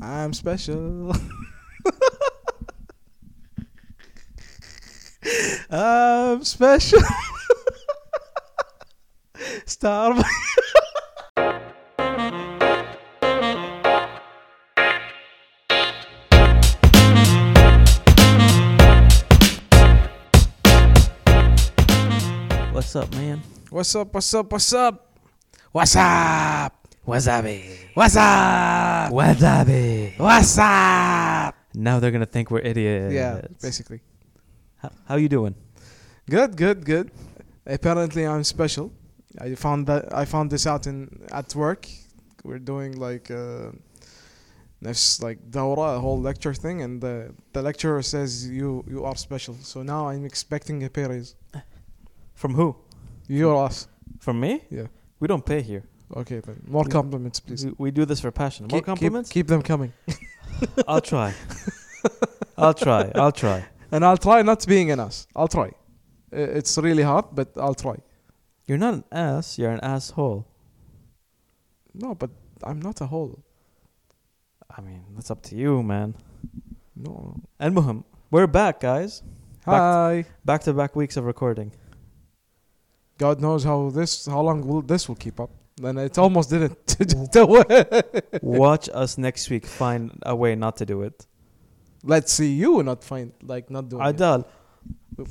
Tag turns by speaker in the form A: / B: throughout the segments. A: I'm special. I'm special. Star.
B: What's up, man?
A: What's up? What's up? What's up? What's up? Wasabi. What's up?
B: Wasabi.
A: Ah. What's up?
B: eh? Now they're gonna think we're idiots.
A: Yeah, basically.
B: How, how you doing?
A: Good, good, good. Apparently, I'm special. I found that I found this out in at work. We're doing like uh, نفس like دورة, a whole lecture thing, and the, the lecturer says you you are special. So now I'm expecting a pay raise.
B: From who?
A: You or us?
B: From me?
A: Yeah.
B: We don't pay here.
A: Okay, then more
B: Yeah.
A: compliments, please.
B: We, we do this for passion. More
A: Keep-
B: compliments?
A: Keep, keep them coming,
B: I'll try. I'll try. I'll try.
A: and I'll try not being an ass. I'll try. I- It's really hard, but I'll try.
B: You're not an ass. You're an asshole.
A: No, but I'm not a hole.
B: I mean, that's up to you, man.
A: No.
B: And Muham, we're back, guys.
A: Hi.
B: Back to back weeks of recording.
A: God knows how this how long will this will keep up. And it almost didn't. Do it.
B: Watch us next week find a way not to do it.
A: Let's see you not find like not doing it.
B: Adal.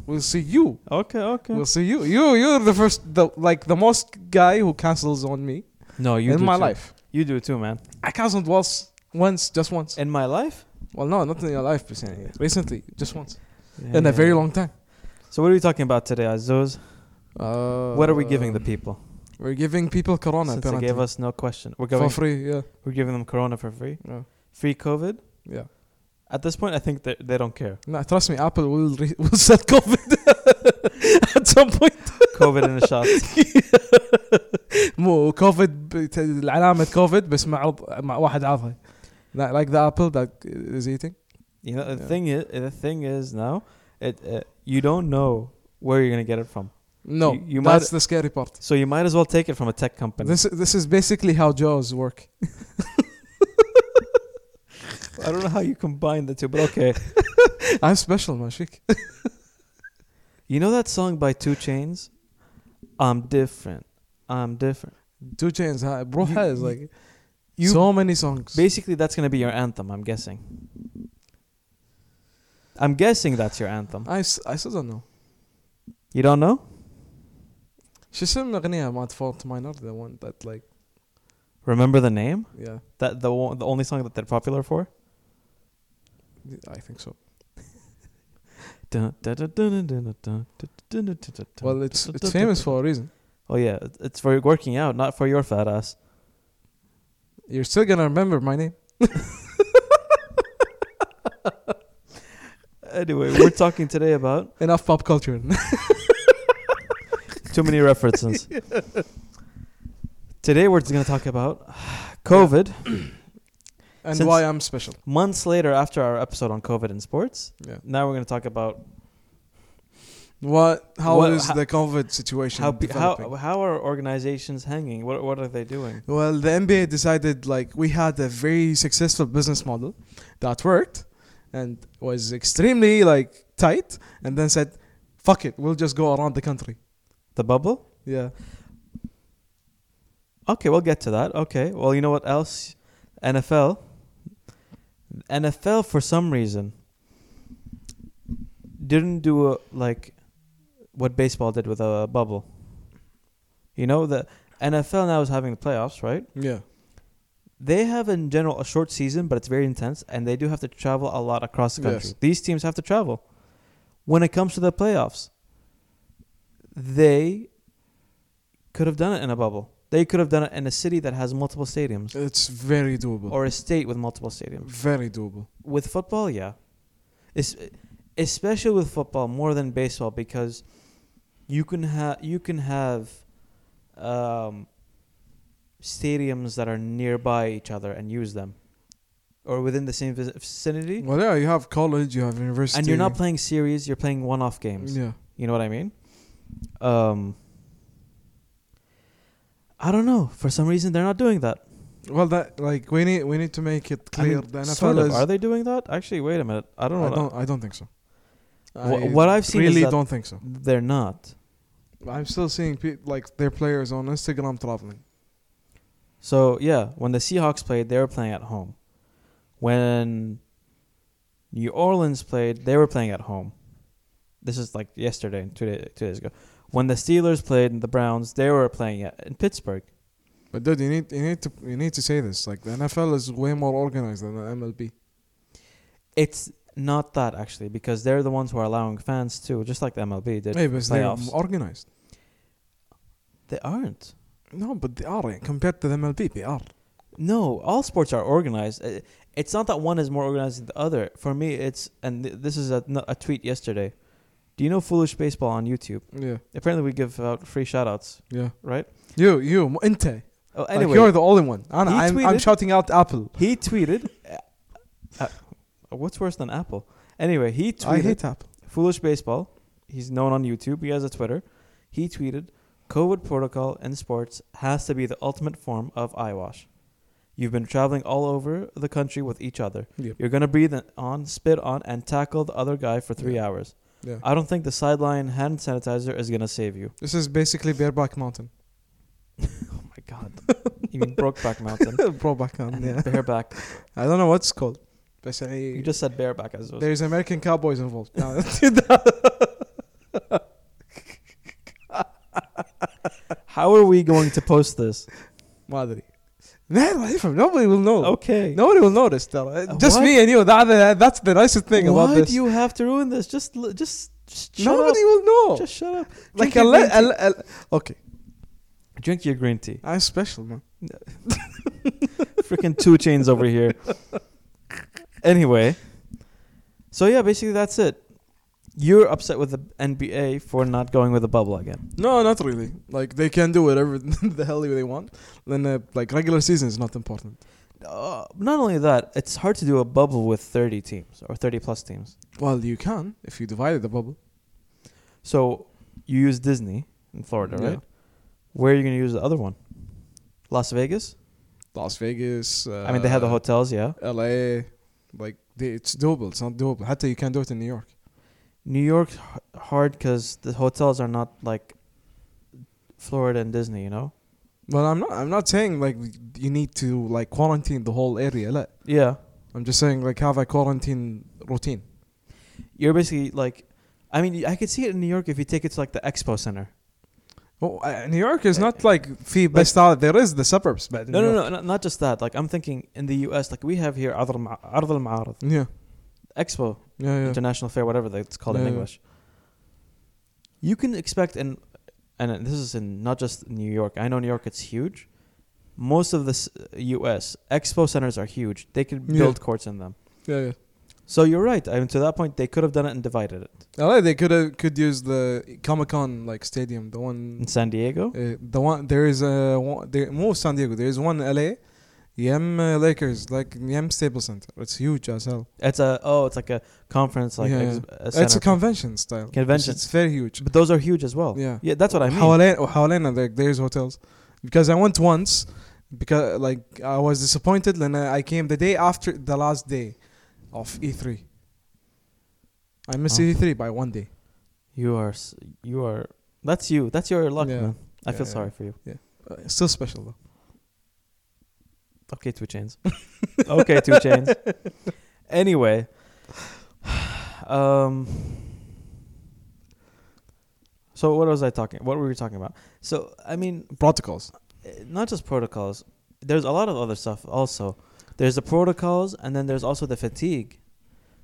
A: We'll see you.
B: Okay, okay.
A: We'll see you. You you're the first the like the most guy who cancels on me
B: no, you
A: in
B: do
A: my
B: too.
A: life.
B: You do too, man.
A: I canceled once once just once.
B: In my life?
A: Well no, not in your life but anyway, recently, just once.
B: Yeah,
A: in a
B: yeah,
A: very
B: yeah.
A: long time.
B: So what are we talking about today, Azuz?
A: Uh,
B: what are we giving the people?
A: We're giving people corona
B: Since they
A: apparently.
B: gave us no question, we're
A: for
B: going.
A: free, yeah.
B: We're giving them Corona for free.
A: Yeah.
B: Free COVID.
A: yeah.
B: At this point, I think they they don't care.
A: No, trust me, Apple will re- will set COVID at some point.
B: COVID in a shot.
A: مو كوفيد بت- العلامة كوفيد بس مع عض- مع واحد عاضها. Not Like the apple that is eating.
B: You know, the
A: Yeah.
B: thing is, the thing is now, it uh, you don't know where you're gonna get it from.
A: No,
B: You- you
A: that's
B: might-
A: the scary part.
B: So you might as well take it from a tech company.
A: This this is basically how Jaws work.
B: I don't know how you combine the two, but okay.
A: I'm special, ماشيك.
B: you know that song by Two Chains? I'm different. I'm different.
A: Two chains ها- بروحها
B: You-
A: is like
B: you-
A: so many songs.
B: Basically, that's gonna be your anthem. I'm guessing. I'm guessing that's your anthem.
A: I s- I still don't know.
B: You don't know?
A: شو اسم الاغنية مالت فولت ماينر the one that like
B: Remember the name?
A: yeah
B: That the one, the only song that they're popular for.
A: I think so.
B: Dun, dun, dun, dun, dun, dun, dun, dun, dun, dun, dun, dun,
A: Well
B: dun,
A: it's
B: dun,
A: it's
B: dun,
A: famous
B: dun.
A: for a reason.
B: Oh yeah, it- it's for working out, not for your fat ass.
A: You're still gonna remember my name.
B: Anyway, we're talking today about
A: Enough pop culture.
B: too many references. Today we're going to talk about COVID.
A: and
B: Since-
A: why I'm special.
B: Months later, after our episode on COVID in sports,
A: Yeah.
B: now we're going to talk about
A: What? How is
B: What- ho-
A: the COVID situation
B: how pe-
A: developing?
B: how how are organizations hanging? What what are they doing?
A: well, the NBA decided like we had a very successful business model that worked and was extremely like tight, and then said, "Fuck it, we'll just go around the country."
B: The bubble?
A: Yeah,
B: Okay, we'll get to that. Okay. Well, you know what else? NFL. NFL for some reason didn't do a, like what baseball did with a bubble. You know the NFL now is having the playoffs, right?
A: yeah.
B: They have in general a short season, but it's very intense, and they do have to travel a lot across the country.
A: Yes.
B: These teams have to travel. When it comes to the playoffs, they could have done it in a bubble. They could have done it in a city that has multiple stadiums
A: It's very doable.
B: or a state with multiple stadiums.
A: very doable.
B: With football, yeah. Es- especially with football more than baseball because you can have you can have um, stadiums that are nearby each other and use them or within the same vic- vicinity.
A: Well, yeah. You have college, you have university,
B: And you're not playing series, you're playing one-off games.
A: Yeah.
B: You know what I mean? Um, I don't know. For some reason, they're not doing that.
A: Well, that like we need we need to make it
B: I
A: clear.
B: mean,
A: the NFL
B: sort of.
A: is.
B: Are they doing that? Actually, wait a minute. I don't know.
A: I don't. I don't think so.
B: Wha- what I've seen is
A: really
B: that-
A: don't think so.
B: They're not.
A: I'm still seeing pe- like their players on Instagram traveling.
B: So yeah, when the Seahawks played, they were playing at home. When New Orleans played, they were playing at home. This is like yesterday, two days, two days ago. When the Steelers played and the Browns, they were playing at, in Pittsburgh.
A: But dude, you need you need to you need to say this. Like the NFL is way more organized than the MLB.
B: It's not that actually, because they're the ones who are allowing fans too, just like the MLB did.
A: Maybe it's they're
B: playoffs.
A: organized.
B: They aren't.
A: No, but they are eh, compared to the MLB. They are.
B: No, all sports are organized. Uh, It's not that one is more organized than the other. For me, it's and th- this is a, no- a tweet yesterday. Do you know Foolish Baseball on YouTube?
A: Yeah,
B: Apparently, we give out free shoutouts,
A: yeah.
B: right?
A: You, you, م- أنت.
B: Oh,
A: Like
B: anyway,
A: you're the only one. Anna,
B: He
A: I'm, I'm
B: tweeted-
A: shouting out Apple.
B: he tweeted. uh, uh, what's worse than Apple? Anyway, he tweeted.
A: I hate Apple.
B: Foolish Baseball. He's known on YouTube. He has a Twitter. He tweeted, "COVID protocol in sports has to be the ultimate form of eyewash. You've been traveling all over the country with each other.
A: Yep.
B: You're gonna breathe on, spit on, and tackle the other guy for three
A: Yeah.
B: hours.
A: Yeah.
B: I don't think the sideline hand sanitizer is gonna save you.
A: This is basically Bareback Mountain.
B: Oh my god! you mean Brokeback Mountain?
A: Brokeback Mountain.
B: And
A: Yeah.
B: Bareback.
A: I don't know what it's called. But I,
B: You just said bareback as well.
A: there's American cowboys involved. No,
B: How are we going to post this?
A: ما ادري لا راح يفهم nobody will know
B: Okay.
A: nobody will notice ترى
B: Uh,
A: just
B: what?
A: me and you that, that- that's the nicest thing about
B: Why
A: this
B: do you have to ruin this? Just, l- just, just shut up.
A: nobody will know
B: Just shut up.
A: like
B: drink
A: a,
B: your
A: le-
B: green
A: a, le- a le- okay
B: tea. drink your green tea.
A: I'm special man
B: Freaking two chains over here. Anyway, so yeah, basically that's it. You're upset with the NBA for not going with the bubble again.
A: no not really like they can do whatever the hell they want then uh, like regular season is not important
B: Uh, not only that, it's hard to do a bubble with 30 teams or 30 plus teams.
A: well you can if you divided the bubble
B: So you use Disney in Florida,
A: Yeah.
B: right? Where are you going to use the other one? Las Vegas?
A: Las Vegas uh,
B: I mean, they have the hotels, yeah.
A: LA like they, it's doable it's not doable حتى you can do it in New York
B: New York's h- hard because the hotels are not like Florida and Disney, you know?
A: but I'm not I'm not saying like you need to like quarantine the whole area لا
B: Yeah.
A: I'm just saying, like, have a quarantine routine.
B: You're basically like, I mean, I could see it in New York if you take it to like the Expo Center.
A: Well, uh, New York is not like fee best out. There is the suburbs, but in
B: Eh, No,
A: New
B: no, no, not, not just that. Like, I'm thinking in the US, like we have here Ard al Ma- Ard al Ma'arad,
A: York.
B: Expo,
A: Yeah, yeah, yeah.
B: International Fair, whatever they- it's called in
A: Yeah, yeah.
B: English. You can expect, and, and this is in not just New York, I know New York, it's huge. Most of the s- US Expo centers are huge, they can
A: Yeah.
B: build courts in them.
A: yeah, yeah.
B: So you're right. I mean, to that point, they could have done it and divided it.
A: LA, they could uh, could use the Comic Con like stadium, the one,
B: In San Diego,
A: uh, the one. There is a one, there, more San Diego. There is one LA, Yem uh, Lakers, like Yem Staples Center. It's huge as hell.
B: it's a oh, it's like a conference, like
A: Yeah,
B: ex-
A: yeah.
B: a center.
A: It's a convention style. It's-
B: Convention.
A: It's very huge.
B: but those are huge as well.
A: Yeah.
B: yeah, that's what I mean.
A: حوالين وحوالينا like oh, there's hotels because I went once because like I was disappointed when I came the day after the last day of E3 I missed
B: Oh.
A: E3 by one day
B: you are, s- you are. That's you. That's your luck,
A: Yeah.
B: man. I
A: Yeah,
B: feel
A: yeah.
B: sorry for you.
A: Uh, it's still special though
B: Okay, two chains. okay, two chains. Anyway, um, so what was I talking? What were we talking about? So I mean,
A: protocols
B: uh, not just protocols. There's a lot of other stuff also. There's the protocols, and then there's also the fatigue.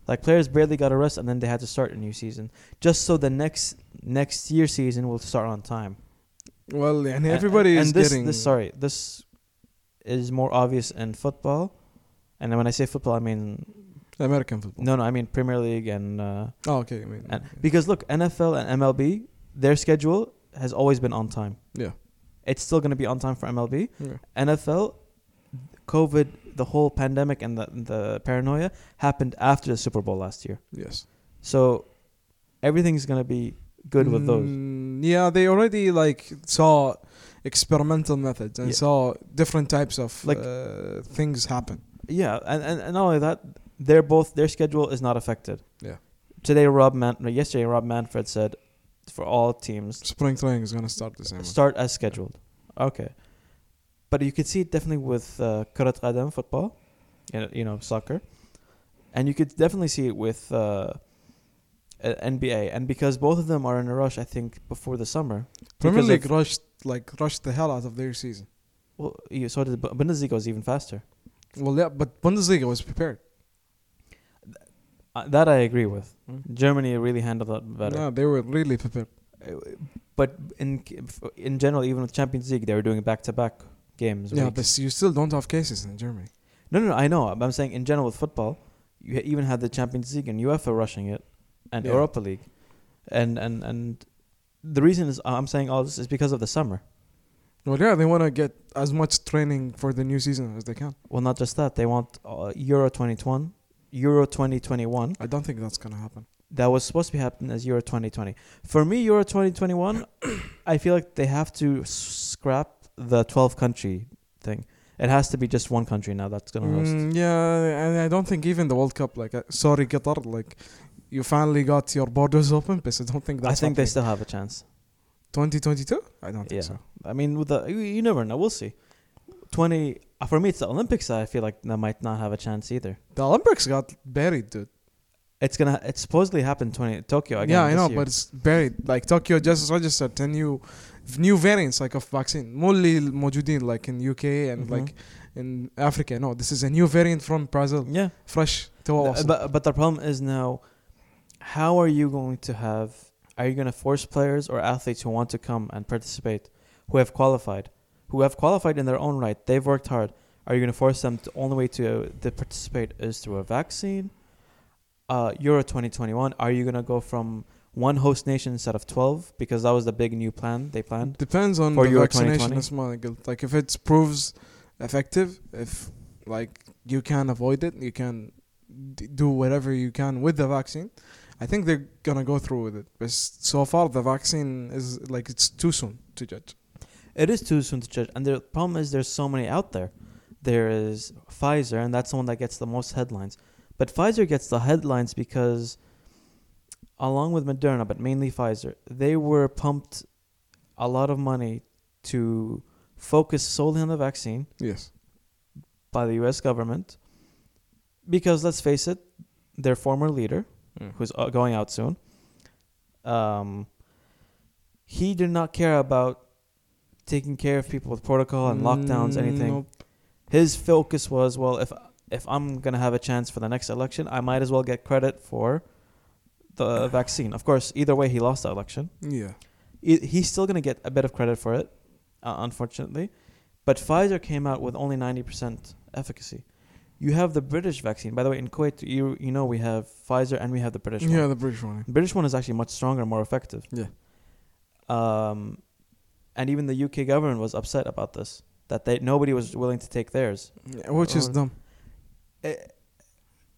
B: Like players barely got a rest, and then they had to start a new season just so the next next year season will start on time.
A: well and
B: And-
A: everybody
B: and,
A: is
B: and this,
A: getting
B: This, sorry, this is more obvious in football, and then when I say football, I mean
A: American football
B: no, no, I mean Premier League and, uh,
A: oh okay I mean
B: and because look, NFL and MLB, their schedule has always been on time.
A: Yeah.
B: it's still going to be on time for MLB.
A: yeah.
B: NFL, COVID, the whole pandemic and the, the paranoia happened after the Super Bowl last year.
A: yes
B: So everything's going to be good with those.
A: Mm, yeah they already like saw experimental methods and
B: Yeah.
A: saw different types of
B: Like-
A: uh, things happen.
B: Yeah, and, and, and not only that, they're both their schedule is not affected.
A: Yeah.
B: Today, Rob Man, no, yesterday Rob Manfred said, for all teams,
A: Spring training is gonna start the same. way.
B: start as scheduled. Okay, but you could see it definitely with uh, كرة قدم football, you know, you know soccer, and you could definitely see it with uh, uh, NBA. And because both of them are in a rush, I think before the summer.
A: Premier
B: because
A: League
B: of-
A: rushed like rushed the hell out of their season.
B: Well, you saw the Bu- Bundesliga is even faster.
A: Well, yeah, but Bundesliga was prepared.
B: Uh, that I agree with.
A: Mm.
B: Germany really handled that better. Uh,
A: No, they were really prepared.
B: But in in general, even with Champions League, they were doing back to back games.
A: Yeah,
B: weeks.
A: but you still don't have cases in Germany.
B: no, no, no, I know. But I'm saying in general with football, you ha- even had the Champions League and UEFA rushing it, and
A: Yeah.
B: Europa League, and and and the reason is I'm saying all this is because of the summer.
A: Well, yeah, they want to get as much training for the new season as they can.
B: Well, not just that, they want uh, Euro 2021, Euro 2021.
A: I don't think that's gonna happen.
B: that was supposed to be happening as Euro 2020. For me, Euro 2021, I feel like they have to s- scrap the 12 country thing. It has to be just one country now that's going to host.
A: Mm, yeah, and I don't think even the World Cup. Like, uh, sorry, Qatar. Like, you finally got your borders open, but I don't think
B: I
A: that's.
B: think they
A: happening.
B: still have a chance.
A: 2022? I don't think
B: Yeah.
A: so.
B: I mean, with the you, you never know. We'll see. 20 uh, for me, it's the Olympics. that I feel like that might not have a chance either.
A: The Olympics got buried, dude.
B: It's gonna. It supposedly happened 20 Tokyo again.
A: yeah, I
B: this
A: know,
B: year.
A: but it's buried. Like Tokyo just registered 10 new new variants like of vaccine. Mostly موجودين like in UK and
B: Mhm.
A: like in Africa. No, this is a new variant from Brazil.
B: yeah.
A: Fresh to us.
B: But but the problem is now, how are you going to have? Are you going to force players or athletes who want to come and participate, who have qualified, who have qualified in their own right? They've worked hard. Are you going to force them? The only way to to participate is through a vaccine. Uh, Euro 2021. Are you going to go from one host nation instead of 12 because that was the big new plan they planned?
A: Depends on
B: For
A: the
B: Euro
A: vaccination
B: 2020?
A: as well. Like, Like if it proves effective, if like you can avoid it, you can d- do whatever you can with the vaccine. I think they're gonna go through with it. But s- so far, the vaccine is like it's too soon to judge.
B: It is too soon to judge. And the problem is there's so many out there. There is Pfizer, and that's the one that gets the most headlines. But Pfizer gets the headlines because, along with Moderna, but mainly Pfizer, they were pumped a lot of money to focus solely on the vaccine
A: Yes.
B: by the U.S. government. Because let's face it, their former leader, who's uh, going out soon, um, he did not care about taking care of people with protocol and lockdowns, anything.
A: Mm, Nope.
B: His focus was, well, if if I'm gonna have a chance for the next election, I might as well get credit for the vaccine. Of course, either way, he lost the election.
A: Yeah.
B: I he's still gonna get a bit of credit for it, uh, unfortunately. But Pfizer came out with only ninety percent efficacy. You have the British vaccine, by the way. In Kuwait, you you know we have Pfizer and we have the British. one.
A: Yeah, the British one.
B: The British one is actually much stronger, more effective.
A: Yeah.
B: Um, and even the UK government was upset about this that they nobody was willing to take theirs.
A: Yeah, which is
B: Or-
A: dumb.
B: Eh,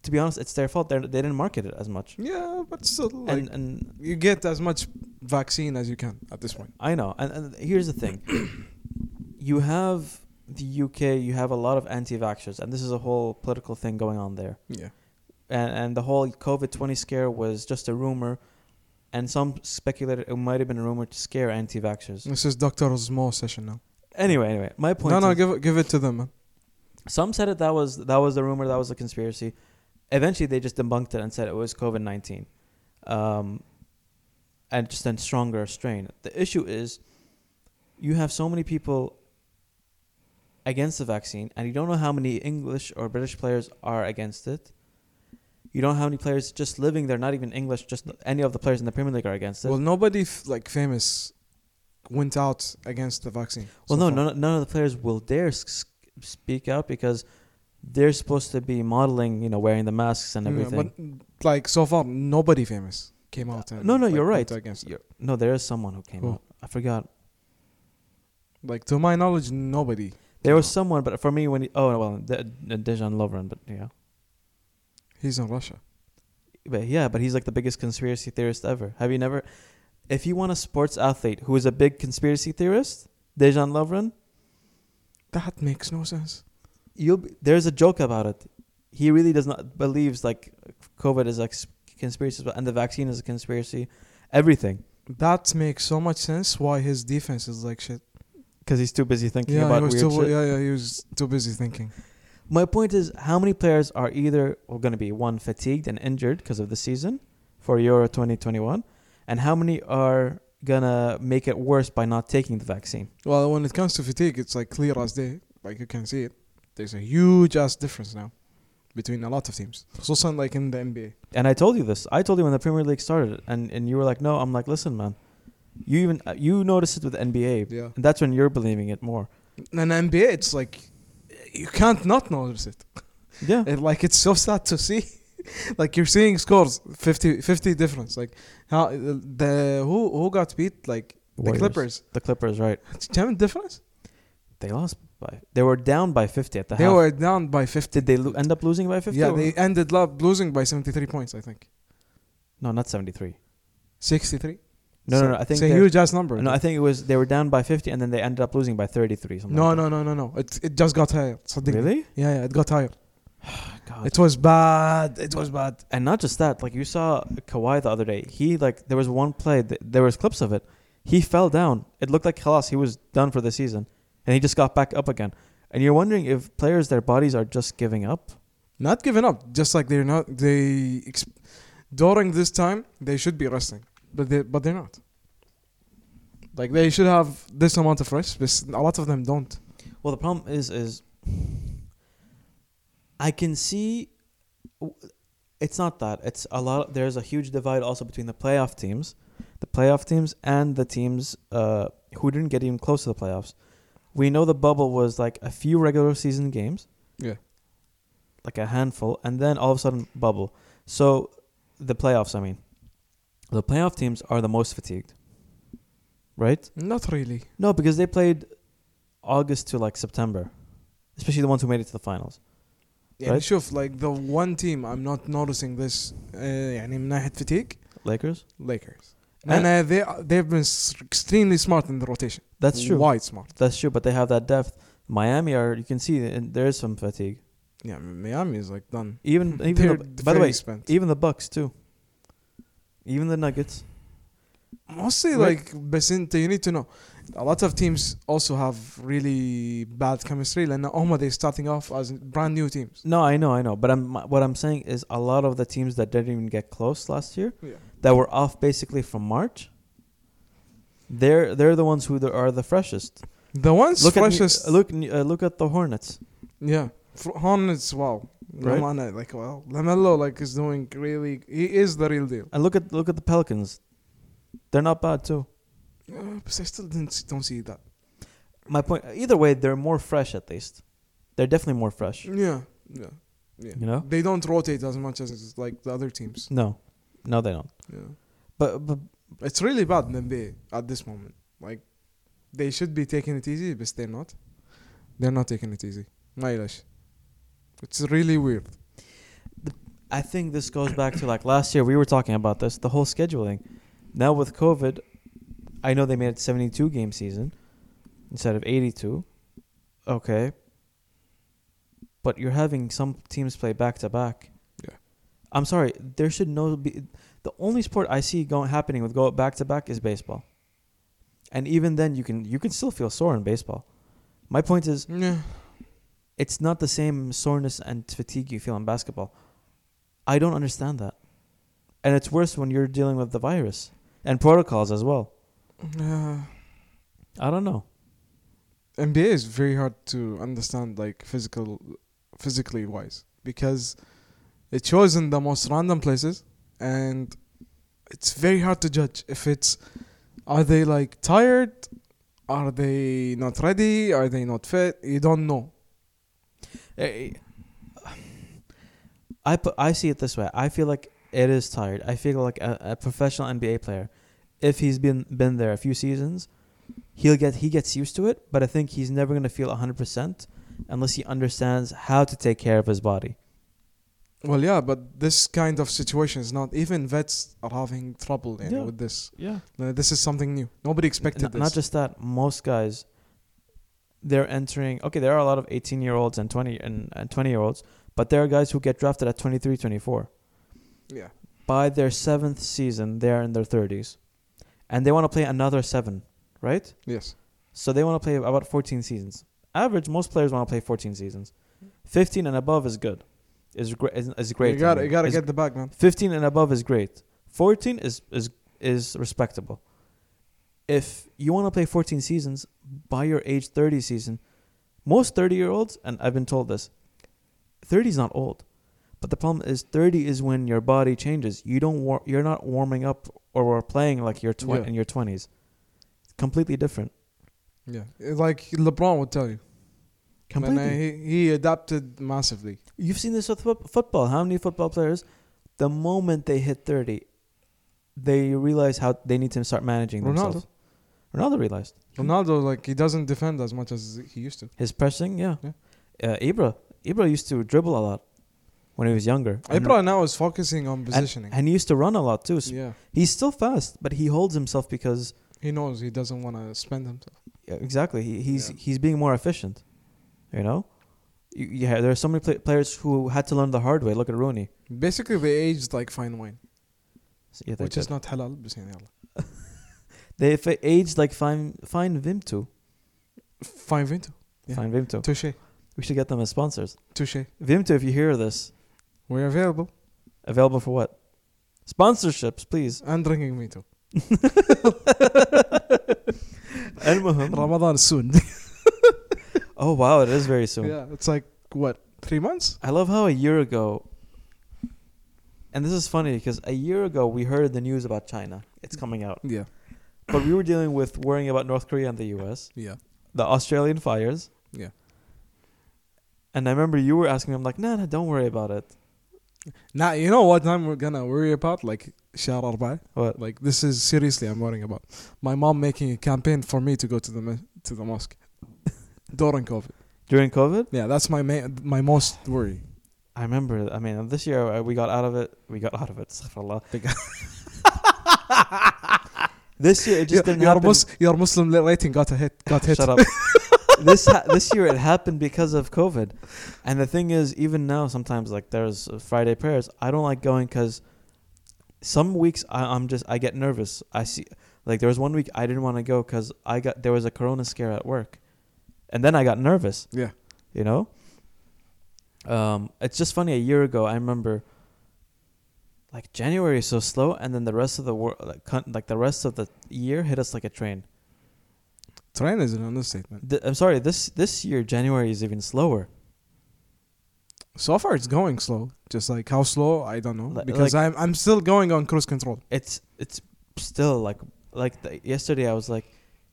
B: to be honest, it's their fault. They're, they didn't market it as much.
A: Yeah, but still, like
B: and and
A: you get as much vaccine as you can at this point.
B: I know. And, and here's the thing: you have the UK, you have a lot of anti-vaxxers, and this is a whole political thing going on there.
A: Yeah.
B: and and the whole COVID twenty scare was just a rumor, and some speculated it might have been a rumor to scare anti-vaxxers.
A: This is Doctor Osmo session now.
B: Anyway, anyway, my point.
A: Mm. No, no,
B: is,
A: give it, give it to them, man.
B: some said it that was that was the rumor, that was the conspiracy. Eventually, they just debunked it and said it was COVID nineteen, um, and just a stronger strain. The issue is, you have so many people against the vaccine, and you don't know how many English or British players are against it. You don't know how many players just living there, not even English, just any of the players in the Premier League are against it.
A: Well, nobody f- like famous went out against the vaccine.
B: Well,
A: so
B: no,
A: far.
B: none, none of the players will dare s- speak out because they're supposed to be modeling, you know, wearing the masks and
A: Yeah,
B: everything.
A: but like so far, nobody famous came out. And,
B: No, no,
A: like,
B: you're
A: went
B: right.
A: Against it.
B: You're- no, there is someone who came
A: Who?
B: out. I forgot.
A: Like to my knowledge, nobody.
B: There was
A: No.
B: someone, but for me, when he, oh well, De- De- Dejan Lovren, but yeah,
A: He's in Russia.
B: but yeah, but he's like the biggest conspiracy theorist ever. Have you never? If you want a sports athlete who is a big conspiracy theorist, Dejan Lovren,
A: That makes no sense.
B: you'll be, there's a joke about it. He really does not believes like COVID is like s- conspiracy and the vaccine is a conspiracy. Everything
A: That makes so much sense. Why his defense is like shit.
B: because he's too busy thinking
A: Yeah,
B: about
A: he was
B: weird
A: too.
B: shit.
A: Yeah, yeah, he was too busy thinking.
B: My point is, how many players are either going to be one fatigued and injured because of the season for Euro 2021, and how many are gonna make it worse by not taking the vaccine?
A: Well, when it comes to fatigue, it's like clear as day. Like you can see it. There's a huge ass difference now between a lot of teams. So, like in the NBA.
B: And I told you this. I told you when the Premier League started, and and you were like, no. I'm like, listen, man. You even uh, you noticed it with NBA,
A: Yeah.
B: and that's when you're believing it more.
A: In NBA, it's like you can't not notice it.
B: Yeah,
A: It- like it's so sad to see. like you're seeing scores 50, 50 difference. Like how the who who got beat like the
B: Warriors.
A: Clippers.
B: The Clippers, right?
A: Ten difference.
B: They lost by. They were down by 50 at the
A: They
B: half.
A: were down by fifty.
B: Did they lo- end up losing by 50?
A: yeah,
B: or-
A: they ended up losing by seventy three points. I think
B: No, not 73.
A: sixty three.
B: No, no, no. I think
A: it's a
B: they-
A: huge ass number.
B: No, I think it was they were down by 50 and then they ended up losing by 33 something.
A: no,
B: like
A: no, no, no, no. It it just got higher.
B: that.
A: صدقني.
B: Really? Ah,
A: Yeah, yeah, it got higher.
B: God.
A: It was bad. It was bad.
B: and not just that, like you saw Kawhi the other day. He like there was one play th- there was clips of it. He fell down. It looked like Kalas, he was done for the season and he just got back up again. And you're wondering if players their bodies are just giving up.
A: Not giving up. Just like they're not. They ex- during this time they should be resting, but they but they're not. Like they should have this amount of rest, but a lot of them don't.
B: Well, the problem is, is I can see it's not that. It's a lot. There's a huge divide also between the playoff teams, the playoff teams, and the teams uh, who didn't get even close to the playoffs. We know the bubble was like a few regular season games.
A: Yeah.
B: Like a handful, and then all of a sudden bubble. So the playoffs, I mean, the playoff teams are the most fatigued, right?
A: Not really.
B: No, because they played August to like September, especially the ones who made it to the finals.
A: يعني
B: Right.
A: شوف like the one team I'm not noticing this uh, يعني من ناحية fatigue
B: Lakers.
A: Lakers and
B: And
A: uh, they they've been s- extremely smart in the rotation
B: that's true.
A: wide smart
B: That's true. But they have that depth. Miami are you can see and there is some fatigue.
A: yeah Miami is like done
B: Even
A: They're
B: even the, by the
A: very
B: way,
A: spent.
B: even the Bucks too. Even the Nuggets.
A: mostly
B: Right.
A: like بس انت you need to know a lot of teams also have really bad chemistry لأن هم they're starting off as brand new teams
B: No, I know, I know. But I'm what I'm saying is a lot of the teams that didn't even get close last year
A: yeah
B: that were off basically from March. They're they're the ones who are the freshest.
A: the ones
B: Look
A: freshest
B: at look uh, look at the Hornets.
A: Yeah, for Hornets. Wow,
B: Right?
A: Lamana, like wow, Lamelo like is doing really. He is the real deal.
B: And look at look at the Pelicans. They're not bad too.
A: Uh, but I still didn't see, don't see that.
B: My point either way, they're more fresh at least. They're definitely more fresh.
A: Yeah, yeah, yeah.
B: You know? Mm.
A: they don't rotate as much as like the other teams.
B: No. No they don't.
A: Yeah,
B: But but
A: it's really bad in NBA at this moment. Like, they should be taking it easy, but they're not. They're not taking it easy. My gosh, it's really weird.
B: I think this goes back to like last year we were talking about this, the whole scheduling. Now with COVID, I know they made it seventy two game season instead of eighty two. Okay. But you're having some teams play back to back.
A: Yeah.
B: I'm sorry, there should no be the only sport I see going happening with go back to back is baseball. And even then you can you can still feel sore in baseball. My point is
A: Yeah,
B: it's not the same soreness and fatigue you feel in basketball. I don't understand that. And it's worse when you're dealing with the virus and protocols as well.
A: yeah.
B: I don't know.
A: NBA is very hard to understand, like physical, physically wise, because it shows in the most random places, and it's very hard to judge if it's are they like tired, are they not ready, are they not fit. You don't know.
B: Eh, I put, I see it this way. I feel like it is tired. I feel like a, a professional NBA player, if he's been been there a few seasons, he'll get he gets used to it. But I think he's never gonna feel hundred percent unless he understands how to take care of his body.
A: Well, yeah, but this kind of situation is not even vets are having trouble you know,
B: Yeah.
A: with this.
B: Yeah.
A: Uh, This is something new. Nobody expected
B: N-
A: this.
B: Not just that, most guys they're entering okay there are a lot of 18 year olds and 20 and, and 20 year olds but there are guys who get drafted at 23 24
A: Yeah.
B: by their seventh season they're in their 30s and they want to play another seven right
A: Yes.
B: so they want to play about 14 seasons average most players want to play 14 seasons 15 and above is good is, gre- is, is great
A: You got to
B: I
A: you
B: mean.
A: got to
B: Is
A: get the bag, man.
B: 15 and above is great. 14 is is is respectable. If you want to play 14 seasons by your age 30 season, most 30 year olds and I've been told this, 30 is not old. But the problem is 30 is when your body changes. You don't war- you're not warming up or playing like you're tw-
A: Yeah.
B: in your 20s. It's completely different.
A: Yeah. It's Like LeBron would tell you. Man,
B: Completely.
A: uh, he he adapted massively.
B: You've seen this with fo- football. How many football players, the moment they hit 30, they realize how they need to start managing themselves. Ronaldo realized.
A: Ronaldo like he doesn't defend as much as he used to.
B: His pressing, yeah.
A: Yeah.
B: Uh, Ibra. Ibra used to dribble a lot when he was younger. And-
A: Ibra now is focusing on
B: and-
A: positioning.
B: And, he used to run a lot too. So
A: yeah.
B: He's still fast, but he holds himself because
A: He knows he doesn't want to spend himself.
B: Yeah, exactly. He, he's
A: Yeah.
B: he's being more efficient. You know? You, yeah, there are so many pla players who had to learn the hard way. Look at Rooney.
A: Basically, they aged like fine wine,
B: So, yeah, they
A: which
B: did.
A: is not halal. بس يعني يلا.
B: they if they aged like fine fine Vimto.
A: Fine Vinto. Yeah.
B: Fine Vimto.
A: Touche.
B: We should get them as sponsors.
A: Touche.
B: Vimto, if you hear this,
A: We're available
B: available for what? Sponsorships, please.
A: and drinking me too.
B: المهم.
A: Ramadan soon.
B: oh wow, it is very soon.
A: yeah, it's like what three months?
B: I love how a year ago, and this is funny because a year ago we heard the news about China. It's coming out,
A: Yeah,
B: but we were dealing with worrying about North Korea and the U.S.,
A: yeah,
B: the Australian fires.
A: Yeah.
B: And I remember you were asking me, I'm like, nah, nah, don't worry about it.
A: Now you know what time we're gonna worry about? Like شهر أربعة.
B: What?
A: Like this is seriously I'm worrying about. My mom making a campaign for me to go to the mo- to the mosque during COVID.
B: During COVID?
A: Yeah, that's my ma- my most worry.
B: I remember. I mean, this year uh, we got out of it. We got out of it. Astaghfirullah.
A: They got-
B: this year it just
A: your,
B: didn't
A: your,
B: happen.
A: Mus- your Muslim rating got a hit. Got hit.
B: Shut up. this ha- this year it happened because of COVID, and the thing is, even now sometimes like there's uh, Friday prayers. I don't like going because some weeks I, I'm just I get nervous. I see like there was one week I didn't want to go because I got there was a Corona scare at work, and then I got nervous.
A: Yeah.
B: you know. Um, it's just funny. A year ago, I remember. Like January is so slow, and then the rest of the world, like, con- like the rest of the year, hit us like a train.
A: Train is an understatement.
B: Th- I'm sorry. This this year January is even slower.
A: So far, it's going slow. Just like how slow, I don't know.
B: Li-
A: Because I'm I'm still going on cruise control.
B: It's it's still like like the, yesterday I was like,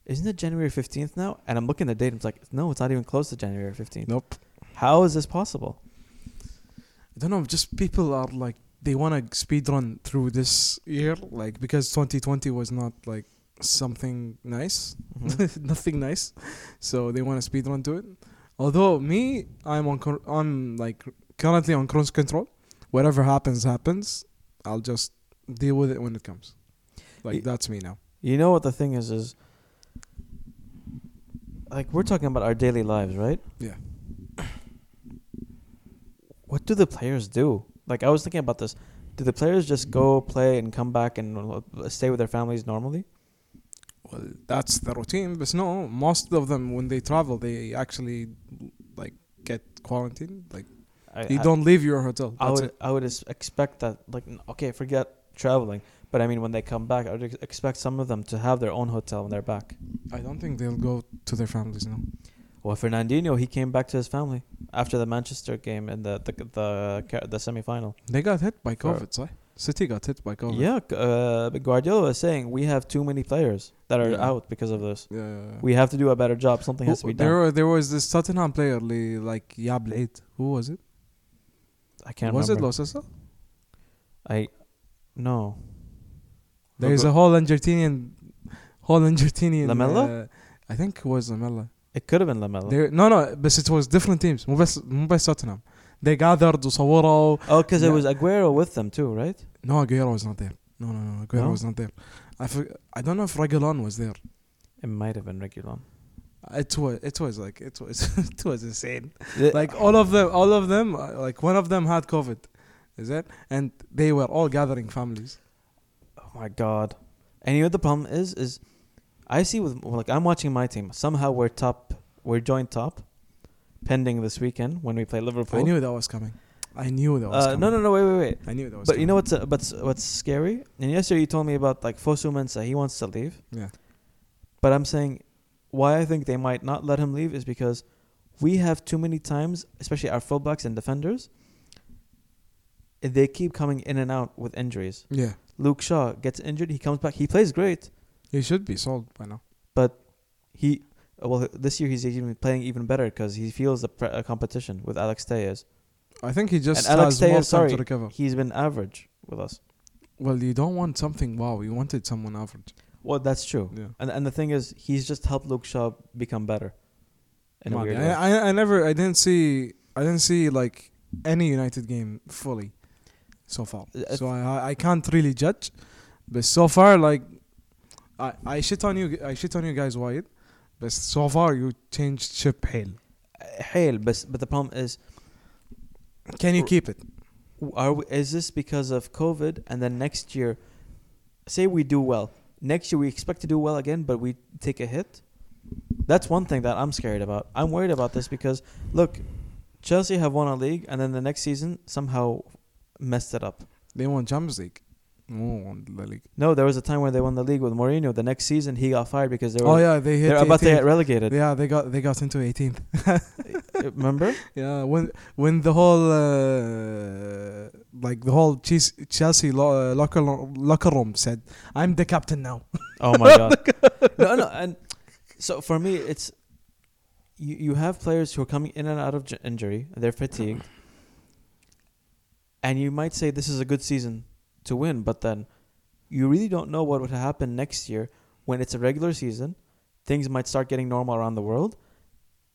B: isn't it January 15th now? And I'm looking at the date. I'm like, no, it's not even close to January 15th.
A: Nope.
B: How is this possible?
A: I don't know. Just people are like they want to speed run through this year, like because 2020 was not like something nice,
B: Mhm.
A: nothing nice. So they want to speed run to it. Although me, I'm on. cur- I'm like currently on cruise control. Whatever happens, happens. I'll just deal with it when it comes. Like
B: Y-
A: that's me now.
B: you know what the thing is is. Like we're talking about our daily lives, right?
A: Yeah.
B: What do the players do? Like I was thinking about this. Do the players just go play and come back and uh, stay with their families normally?
A: Well, that's the routine. But no, most of them when they travel, they actually like get quarantined. Like
B: I,
A: you
B: I-
A: don't leave your hotel.
B: I
A: That's
B: would
A: it.
B: I would ex- expect that like n- okay forget traveling but I mean when they come back I would ex- expect some of them to have their own hotel when they're back.
A: I don't think they'll go to their families now.
B: Well, Fernandinho he came back to his family after the Manchester game and the the the, ca- the semifinal.
A: They got hit by
B: Fair.
A: COVID, sorry. City got hit by COVID.
B: Yeah, g- uh, Guardiola is saying we have too many players that are
A: Yeah.
B: out because of this.
A: Yeah.
B: We have to do a better job. Something has to be
A: there,
B: done.
A: were- there was this Tottenham player, li- like Yab Blade. Who was it?
B: I can't
A: was it
B: remember.
A: Lo Celso?
B: I no.
A: There's a whole Argentinian, whole Argentinian.
B: Lamella?
A: Uh, I think it was Lamella.
B: It could have been Lamelo.
A: There, no, no, but it was different teams. مو بس مو بس Tottenham. They gathered وصوروا.
B: oh, because it
A: Yeah.
B: was Aguero with them too, right?
A: No, Aguero was not there. No, no, no, Aguero
B: No?
A: was not there. I, for, I don't know if Reguilon was there.
B: It might have been Regulon.
A: it was it was like it was it was insane.
B: The-
A: Like all of them, all of them, uh, like one of them had COVID, is it? And they were all gathering families.
B: oh my god. And you know what the problem is? Is I see with like I'm watching my team. Somehow we're top. We're joint top, pending this weekend when we play Liverpool.
A: I knew that was coming. I knew that was
B: Oh. uh,
A: coming.
B: no, no, no. Wait, wait, wait.
A: I knew that was.
B: But you know what's uh, but what's scary? And yesterday you told me about like Fosu Mensah, he wants to leave.
A: Yeah.
B: But I'm saying why I think they might not let him leave is because we have too many times, especially our fullbacks and defenders, they keep coming in and out with injuries.
A: coming. Yeah,
B: Luke Shaw gets injured, he comes back, he plays great.
A: he should be sold by now.
B: He well this year he's even playing even better because he feels the pre- uh, competition with Alex Tejas.
A: I think he just
B: And Alex
A: has more
B: Tejas,
A: time
B: sorry.
A: to recover.
B: He's been average with us.
A: Well, you don't want something wow. You wanted someone average.
B: Well, that's true.
A: Yeah.
B: And and the thing is, he's just helped Luke Shaw become better. In a
A: Mad.
B: weird way.
A: I, I I never I didn't see I didn't see like any United game fully so far.
B: Uh,
A: So I I- I can't really judge, but so far like I I shit on you I shit on you guys wide, but so far you changed ship hail.
B: Uh, Hail, but but the problem is,
A: Can you keep it?
B: are we, is this because of COVID? And then next year, say we do well. Next year we expect to do well again, but we take a hit. That's one thing that I'm scared about. I'm worried about this because look, Chelsea have won a league, and then the next season somehow messed it up.
A: They won Champions League. Oh, won the league.
B: No, there was a time where they won the league with Mourinho. The next season he got fired because they were
A: Oh yeah, they hit.
B: they're about to
A: 18th.
B: get relegated.
A: yeah, they got they got into 18th.
B: Remember?
A: Yeah, when when the whole uh, like the whole Chees- Chelsea lo- uh, locker lo- locker room said, "I'm the captain now."
B: Oh my god. no, no, and so for me, it's you. You have players who are coming in and out of j- injury. They're fatigued, and you might say this is a good season to win, but then you really don't know what would happen next year when it's a regular season. Things might start getting normal around the world,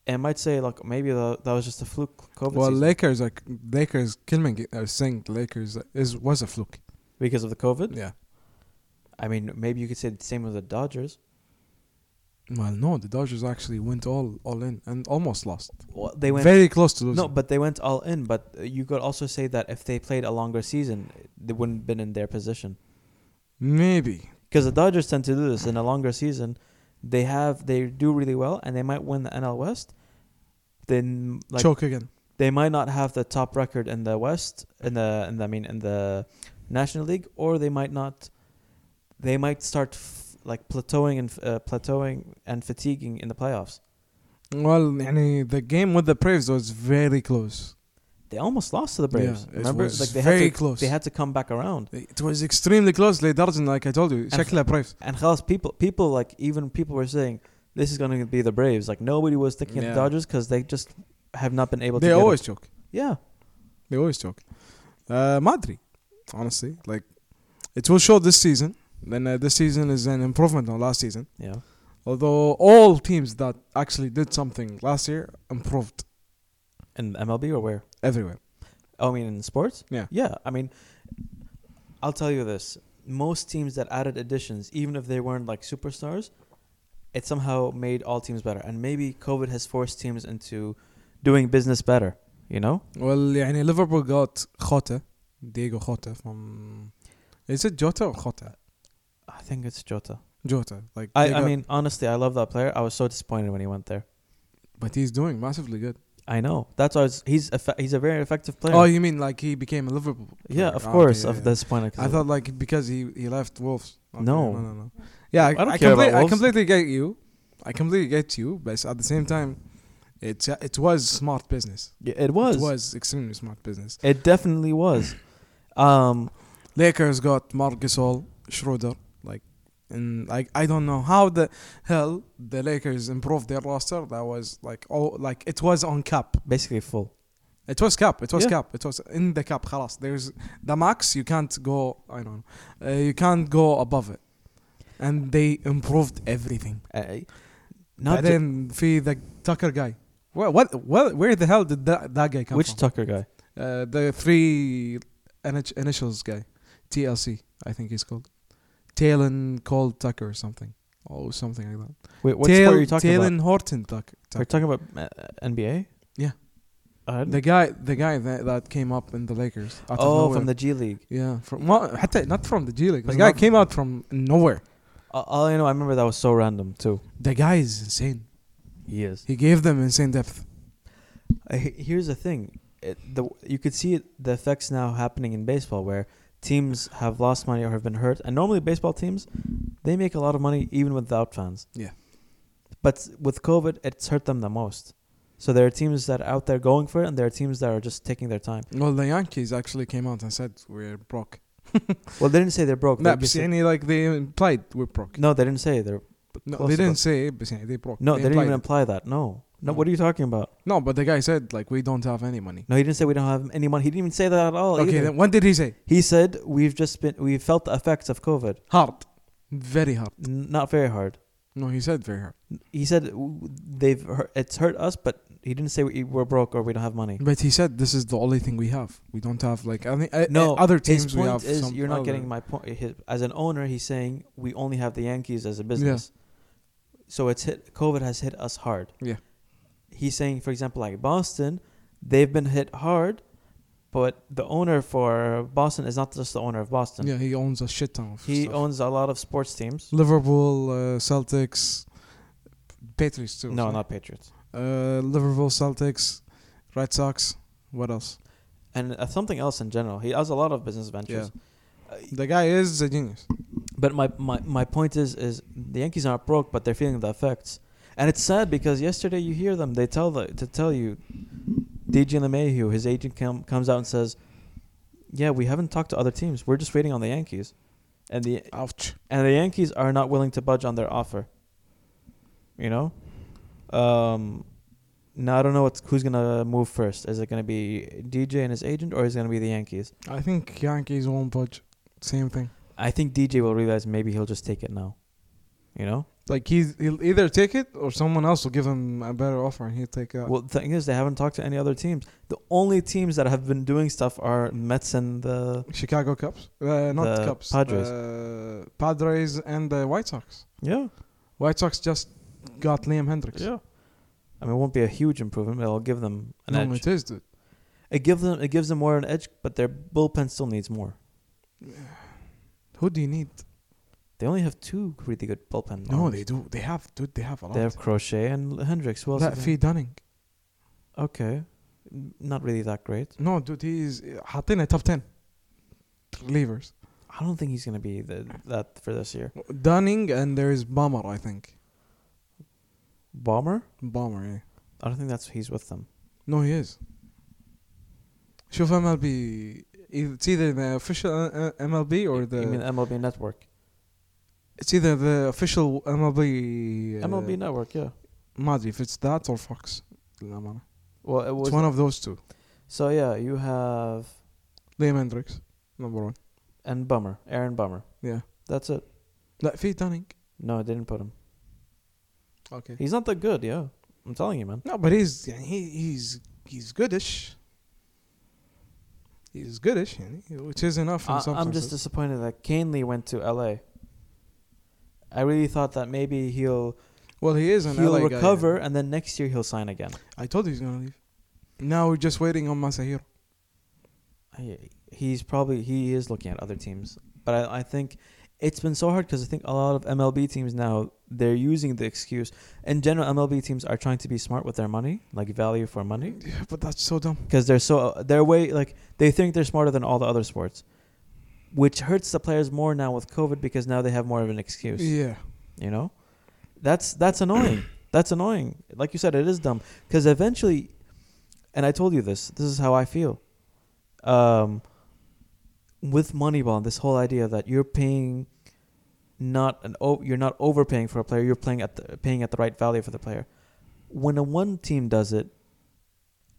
B: and might say like maybe tha- that was just a fluke COVID
A: well,
B: season
A: Lakers are Lakers Kilman I was saying Lakers is was a fluke.
B: because of the COVID.
A: Yeah.
B: I mean, maybe you could say the same with the Dodgers.
A: Well, no, the Dodgers actually went all all in and almost lost.
B: Well, they went
A: Very close to losing.
B: No, but they went all in. But uh, you could also say that if they played a longer season, they wouldn't have been in their position.
A: maybe.
B: Because the Dodgers tend to do this in a longer season. They have they do really well, and they might win the NL West. Then like
A: Choke again.
B: they might not have the top record in the West in the in the, I mean in the National League, or they might not. They might start f- like plateauing and f- uh, plateauing and fatiguing in the playoffs.
A: Well, yani, the game with the Braves was very close.
B: They almost lost to the
A: Yeah,
B: Braves.
A: it
B: Remember,
A: was
B: like they
A: very
B: had to,
A: close.
B: They had to come back around.
A: It was extremely close. لدرجة like I told you,
B: And-
A: شكلها Braves.
B: And خلاص, people, people like even people were saying this is going to be the Braves. Like nobody was thinking of
A: Yeah.
B: the Dodgers because they just have not been able.
A: They
B: to get
A: always
B: it.
A: choke.
B: yeah.
A: They always talk. Uh, Madri, honestly, like it will show this season. Then uh, this season is an improvement on last season.
B: Yeah,
A: Although all teams that actually did something last year improved
B: in MLB or where?
A: everywhere.
B: Oh, I mean in sports.
A: Yeah.
B: yeah. I mean, I'll tell you this: most teams that added additions, even if they weren't like superstars, it somehow made all teams better. And maybe COVID has forced teams into doing business better. You know,
A: Well, يعني Liverpool got Jota, Diego Jota from. Is it Jota or Jota?
B: I think it's Jota.
A: Jota, like
B: I,
A: they
B: I
A: got-
B: mean, honestly, I love that player. I was so disappointed when he went there.
A: but he's doing massively good.
B: I know. That's why I was, he's a fa- he's a very effective player.
A: Oh, you mean like he became a Liverpool?
B: yeah,
A: player.
B: of
A: Ah, okay,
B: course.
A: yeah,
B: of
A: yeah.
B: this point, I,
A: I thought like because he he left Wolves. Okay,
B: No.
A: no, no, no. Yeah, I, I,
B: I don't
A: complete-
B: care about
A: I
B: Wolves.
A: completely get you. I completely get you, but at the same time, it's it was smart business.
B: Yeah, it was. It
A: It was extremely smart business.
B: definitely was. Um,
A: Lakers got Marc Gasol, Schroeder, like, and like I don't know how the hell the Lakers improved their roster. That was like oh like it was on cap.
B: basically full.
A: It was cap. It was
B: Yeah.
A: cap. It was in the cap. خلاص. There's the max. You can't go. I don't know. Uh, you can't go above it. And they improved everything.
B: Uh, not
A: Not
B: ju-
A: then في the Tucker guy. What what what? Where the hell did that that guy come
B: which
A: from?
B: Tucker guy?
A: uh, the three NH- initials guy, TLC. I think he's called. Talon called Tucker or something. or something like that.
B: Wait, what
A: Tail,
B: sport are you talking
A: Taylor
B: about?
A: Horton talk,
B: Are you talking about uh, NBA?
A: Yeah.
B: Uh,
A: the guy, the guy that, that came up in the Lakers. Out of
B: oh,
A: nowhere.
B: from the G League.
A: yeah, from well, حتى not from the G League. The
B: But
A: guy
B: not-
A: came out from nowhere.
B: Uh, all I know, I remember that was so random too.
A: The guy is insane.
B: He is.
A: He gave them insane depth.
B: Uh, he- here's the thing: it, the you could see it, the effects now happening in baseball, where teams have lost money or have been hurt, and normally baseball teams they make a lot of money even without fans.
A: Yeah.
B: But s- with COVID, it's hurt them the most. So there are teams that are out there going for it, and there are teams that are just taking their time.
A: Well, the Yankees actually came out and said we're broke.
B: Well, they didn't say they're broke.
A: No,
B: they
A: بس
B: just said-
A: يعني like they implied we're broke.
B: no, they didn't say they're.
A: No,
B: close
A: they
B: to
A: didn't
B: broke.
A: say but يعني they broke.
B: No, they, didn't even
A: implied Mm.
B: imply that. No.
A: No.
B: No, what are you talking about?
A: it. No, but the guy said like we don't have any money.
B: No, he didn't say we don't have any money. He didn't even say that at all.
A: okay,
B: either.
A: then what did he say?
B: He said we've just been we've felt the effects of COVID.
A: Hard, very hard.
B: N- not very hard.
A: No, he said very hard.
B: He said w- they've hurt, it's hurt us, but he didn't say we- we're broke or we don't have money.
A: But he said this is the only thing we have. We don't have like any uh,
B: No,
A: other
B: His
A: teams. We
B: point
A: have
B: is
A: some oh,
B: you're not
A: other-
B: getting my point. His, as an owner, he's saying we only have the Yankees as a business, so it's hit. COVID has hit us hard.
A: Yeah.
B: he's saying, for example, like Boston, they've been hit hard, but the owner for Boston is not just the owner of Boston.
A: Yeah, he owns a shit ton of.
B: He
A: stuff.
B: owns a lot of sports teams.
A: Liverpool, uh, Celtics, Patriots too.
B: No,
A: صح?
B: not Patriots.
A: Uh, Liverpool, Celtics, Red Sox. What else?
B: And uh, something else in general. He has a lot of business ventures. Uh,
A: The guy is a genius.
B: But my, my, my point is is the Yankees aren't broke, but they're feeling the effects, and it's sad because yesterday you hear them. They tell the to tell you, DJ LeMahieu, his agent com, comes out and says, "Yeah, we haven't talked to other teams. We're just waiting on the Yankees," and the
A: Ouch.
B: and the Yankees are not willing to budge on their offer. You know, um, now I don't know what's, who's gonna move first. Is it gonna be DJ and his agent, or is it gonna be the Yankees?
A: I think Yankees won't budge. Same thing.
B: I think DJ will realize maybe he'll just take it now. You know.
A: Like he's, he'll either take it or someone else will give him a better offer and he'll take uh, it.
B: Well, the thing is, they haven't talked to any other teams. The only teams that have been doing stuff are Mets and the
A: Chicago Cubs, uh, not
B: The
A: Cubs.
B: Padres.
A: uh, Padres and the White Sox.
B: yeah,
A: White Sox just got Liam Hendricks.
B: I mean, it won't be a huge improvement, but it'll give them an
A: no,
B: edge.
A: it is, dude.
B: It gives them it gives them more an edge, but their bullpen still needs more.
A: Who do you need?
B: They only have two really good bullpen.
A: No,
B: arms.
A: they do. They have, dude. They have a lot.
B: They have Crochet and Hendricks. Who else?
A: that
B: is
A: Fee Dunning.
B: there? Okay, N- not really that great.
A: No, dude, he is حاطين top ten relievers.
B: I don't think he's gonna be the, that for this year.
A: Dunning and there is Bomber, I think.
B: Bomber?
A: Bomber, yeah.
B: I don't think that's he's with them.
A: No, he is. شوف MLB it's either the official uh, uh, MLB or the
B: you mean MLB Network?
A: it's either the official MLB uh,
B: MLB Network, yeah.
A: ما أدري if it's that or Fox للأمانة.
B: Well, it was
A: it's one of those two
B: So yeah, you have
A: Liam Hendricks number one
B: and Bummer, Aaron Bummer.
A: yeah
B: That's it.
A: لا في Dunning
B: No, I didn't put him.
A: okay
B: He's not that good. Yeah, I'm telling you, man.
A: no but he's يعني he, he's he's goodish he's goodish يعني, which is enough in
B: I,
A: some
B: I'm just
A: senses.
B: disappointed that Canley went to L.A. I really thought that maybe he'll
A: well he is an
B: he'll
A: LA guy, yeah.
B: recover and then next year he'll sign again.
A: I told you he's gonna leave now we're just waiting on Masahiro
B: I- He's probably he is looking at other teams, but I, I think it's been so hard because I think a lot of MLB teams now they're using the excuse. In general, MLB teams are trying to be smart with their money, like value for money.
A: Yeah, but that's so dumb
B: because they're so their way like they think they're smarter than all the other sports which hurts the players more now with covid because now they have more of an excuse
A: yeah
B: you know that's that's annoying that's annoying like you said it is dumb because eventually and i told you this this is how i feel um with moneyball this whole idea that you're paying not an o- you're not overpaying for a player you're playing at the paying at the right value for the player when a one team does it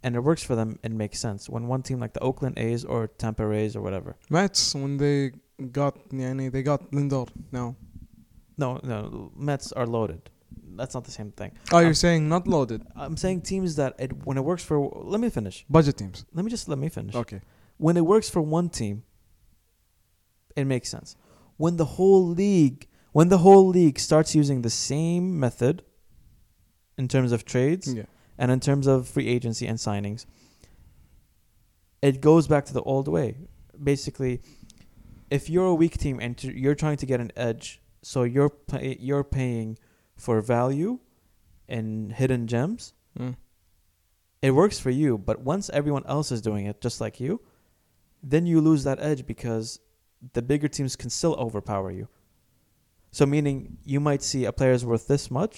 B: and it works for them it makes sense when one team like the oakland a's or tampa rays or whatever
A: Mets when they got يعني they got Lindor now
B: no no mets are loaded that's not the same thing
A: oh
B: Um,
A: you're saying not loaded
B: I'm saying teams that it, when it works for. Let me finish.
A: budget teams
B: Let me just let me finish.
A: okay
B: When it works for one team, it makes sense. When the whole league, when the whole league starts using the same method in terms of trades
A: Yeah.
B: and in terms of free agency and signings, it goes back to the old way. Basically, if you're a weak team and t- you're trying to get an edge, so you're pay- you're paying for value and hidden gems,
A: Mm.
B: it works for you. But once everyone else is doing it, just like you, then you lose that edge because the bigger teams can still overpower you. So meaning you might see a player's worth this much.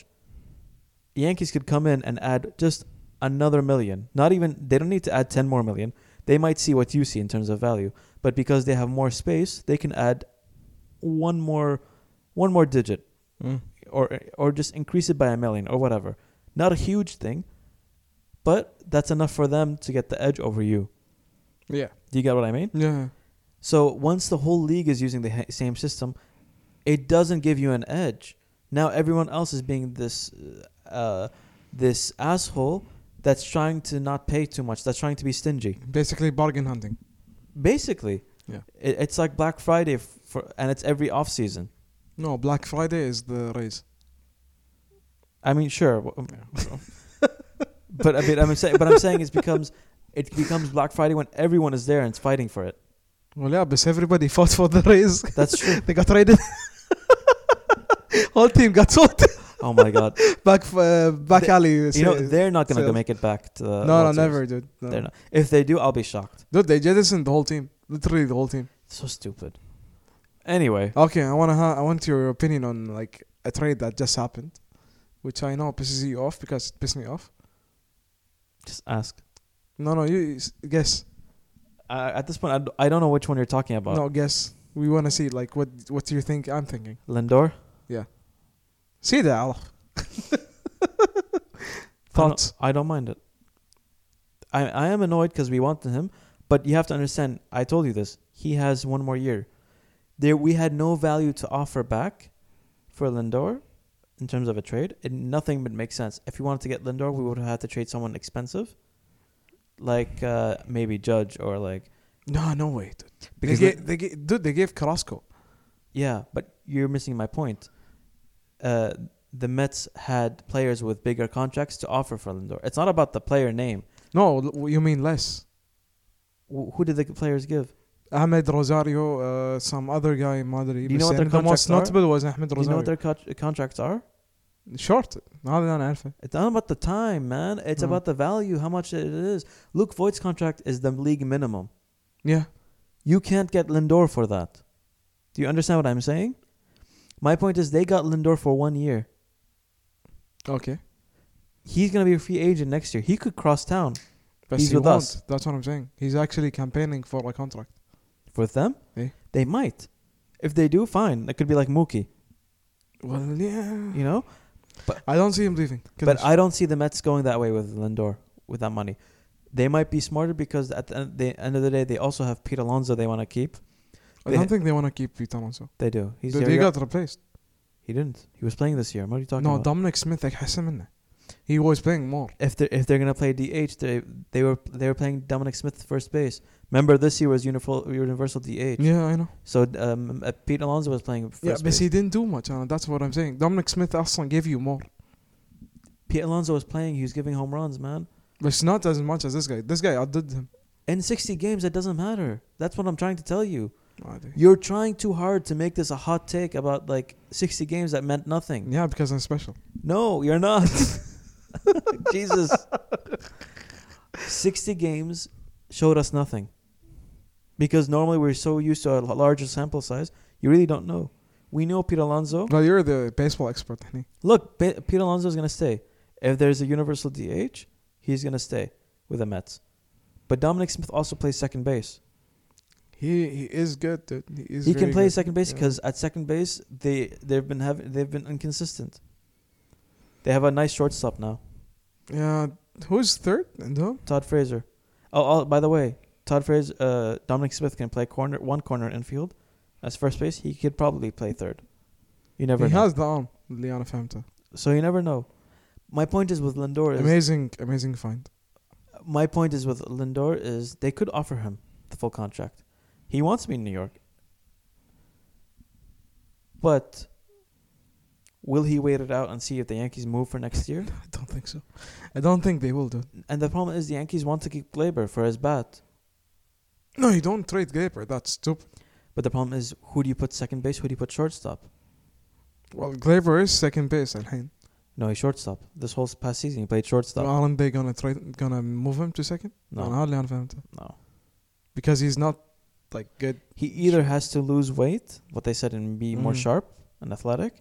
B: Yankees could come in and add just another million. Not even they don't need to add ten more million. They might see what you see in terms of value, but because they have more space, they can add one more, one more digit,
A: Mm.
B: or or just increase it by a million or whatever. Not a huge thing, but that's enough for them to get the edge over you.
A: Yeah.
B: Do you get what I mean?
A: Yeah.
B: So once the whole league is using the ha- same system, it doesn't give you an edge. Now everyone else is being this uh, this asshole that's trying to not pay too much, that's trying to be stingy.
A: Basically bargain hunting.
B: Basically,
A: Yeah.
B: it, it's like Black Friday f- for, and it's every off season.
A: No, Black Friday is the raise.
B: I mean, sure, w- um, but I mean, I'm saying, but I'm saying it becomes it becomes Black Friday when everyone is there and it's fighting for it.
A: Well, yeah, but everybody fought for the raise.
B: That's true.
A: they got raided. Whole team got sold
B: Oh my god,
A: back uh, back
B: They-
A: alley.
B: you know they're not gonna go
A: sales.
B: make it back to
A: no,
B: the
A: no,
B: World Series.
A: never, dude. No.
B: They're not. If they do, I'll be shocked.
A: Dude, they jettisoned the whole team. Literally the whole team.
B: So stupid. Anyway,
A: Okay, I wanna ha- I want your opinion on like a trade that just happened, which I know pisses you off because it pissed me off.
B: just ask.
A: No, no, you you s- guess.
B: Uh, at this point, I d- I don't know which one you're talking about.
A: no, guess. We wanna see like what what do you think I'm thinking.
B: Lindor.
A: See that Allah. Thoughts?
B: I don't, I don't mind it. I I am annoyed because we wanted him, but you have to understand. I told you this. He has one more year. There, we had no value to offer back for Lindor in terms of a trade. It nothing would make sense. If we wanted to get Lindor, we would have had to trade someone expensive, like uh, maybe Judge or like
A: No, no way, dude. They
B: because
A: gave, they gave, dude, they gave Carrasco.
B: Yeah, but you're missing my point. Uh, the Mets had players with bigger contracts to offer for Lindor. It's not about the player name.
A: No, l- you mean less.
B: Wh- who did the players give?
A: Ahmed Rosario, uh, some other guy in Madrid.
B: Do you know
A: بس
B: what their
A: يعني the most
B: contracts are?
A: notable was Ahmed
B: Do you know what
A: Rosario.
B: their co- contracts are?
A: Short. No, I don't know.
B: It's not about the time, man. It's
A: Mm.
B: about the value, how much it is. Luke Voigt's contract is the league minimum.
A: Yeah.
B: You can't get Lindor for that. Do you understand what I'm saying? My point is they got Lindor for one year.
A: Okay.
B: He's gonna be a free agent next year. He could cross town
A: But
B: He's
A: he
B: with
A: won't.
B: us.
A: That's what I'm saying. He's actually campaigning for a contract.
B: for them.
A: Eh?
B: They might. If they do, fine. It could be like Mookie.
A: Well, yeah.
B: You know,
A: I don't see him leaving.
B: but I don't see the Mets going that way with Lindor with that money. They might be smarter because at the end, the end of the day, they also have Pete Alonso they want to keep.
A: I don't think they want to keep Pete Alonso.
B: They do. He's
A: Dude,
B: their-
A: he got replaced.
B: he didn't. He was playing this year. What are you talking
A: No,
B: about?
A: Dominic Smith, I guess him He was playing more.
B: if they are if they're gonna play DH, they they were they were playing Dominic Smith first base. Remember this year was universal universal DH.
A: Yeah, I know.
B: So um, uh, Pete Alonso was playing first
A: Yeah, but
B: base.
A: he didn't do much. And that's what I'm saying. Dominic Smith Aslan gave you more.
B: Pete Alonso was playing. He was giving home runs, man.
A: But it's not as much as this guy. This guy outdid him.
B: In 60 games, it doesn't matter. That's what I'm trying to tell you.
A: Ah, dude.
B: You're trying too hard to make this a hot take about like 60 games that meant nothing.
A: Yeah, because I'm special.
B: No, you're not. Jesus. 60 games showed us nothing. Because normally we're so used to a l- larger sample size, you really don't know. We know Pete Alonso.
A: Well, you're the baseball expert, honey.
B: Look, Pe- Pete Alonso is going to stay. If there's a universal DH, he's going to stay with the Mets. But Dominic Smith also plays second base.
A: He he is good, dude. He, is
B: he can
A: really
B: play
A: good.
B: second base
A: yeah.
B: because at second base they they've been having they've been inconsistent. They have a nice shortstop now,
A: Yeah, who's third? No,
B: Todd Frazier. Oh, oh by the way, Todd Frazier, uh, Dominic Smith can play corner one corner infield as first base. He could probably play third. You never
A: he
B: know.
A: has the arm. Leon Famta.
B: so you never know. My point is with Lindor is
A: Amazing, amazing find.
B: my point is with Lindor is they could offer him the full contract. He wants to be in New York. But Will he wait it out and see if the Yankees move for next year?
A: I don't think so. I don't think they will do. it.
B: And the problem is the Yankees want to keep Glaber for his bat.
A: No, you don't trade Glaber. That's stupid.
B: But the problem is who do you put second base? Who do you put shortstop?
A: Well, Glaber is second base. Alhain.
B: No, he's shortstop. This whole past season he played shortstop.
A: Aren't they gonna trade? Gonna move him to second? أنا
B: No,
A: hardly understand that.
B: no.
A: because he's not like good.
B: He either has to lose weight, what they said, and be more
A: Mm.
B: sharp and athletic,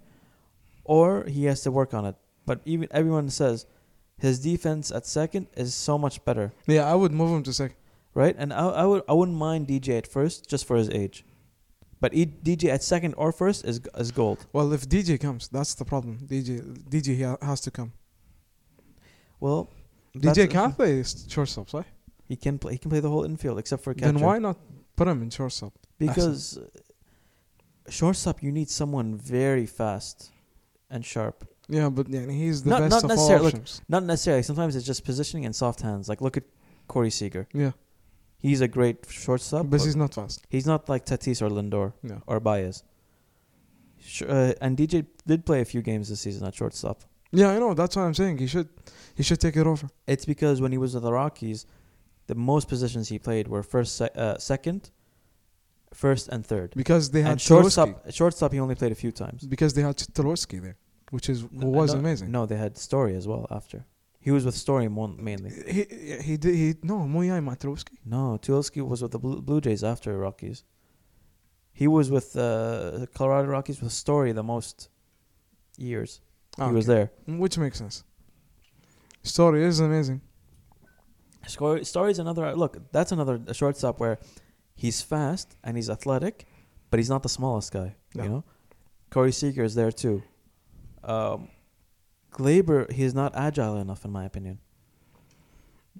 B: or he has to work on it. But even everyone says his defense at second is so much better,
A: Yeah, I would move him to second.
B: right? And I, I would I wouldn't mind DJ at first just for his age, but e- DJ at second or first is is gold.
A: Well, if DJ comes, that's the problem. DJ, DJ he ha- has to come.
B: Well,
A: DJ
B: that's-
A: can't play s- shortstop, right?
B: He can play. He can play the whole infield except for catcher.
A: Then why not put him in shortstop?
B: Because uh, shortstop, you need someone very fast and sharp.
A: Yeah, but yeah, he's the
B: Not-
A: best
B: not
A: of all
B: necessarily- look,
A: options.
B: Not necessarily. Sometimes it's just positioning and soft hands. Like look at Corey Seager.
A: yeah,
B: He's a great shortstop,
A: but he's not fast.
B: he's not like Tatis or Lindor
A: No.
B: or Baez. Sh- uh, and DJ did play a few games this season at shortstop.
A: Yeah, I know. That's what I'm saying. He should, he should take it over.
B: It's because when he was with the Rockies, the most positions he played were first, sec- uh, second, first, and third.
A: Because they had
B: And
A: Tulorski.
B: shortstop, shortstop, he only played a few times.
A: Because they had Tulorski there, which is
B: No,
A: was
B: no,
A: amazing.
B: No, they had Story as well after. He was with Story mon- mainly.
A: He he did he no Moyai Matrowski.
B: No, Tuloski was with the Blue, Blue Jays after Rockies. He was with uh, Colorado Rockies with Story the most years.
A: Oh,
B: he was there.
A: Ah, which makes sense. Story is amazing.
B: Score, Story's another look. That's another shortstop where he's fast and he's athletic, but he's not the smallest guy.
A: No.
B: You know, Corey Seager is there too. Um, Glaber, he is not agile enough, in my opinion.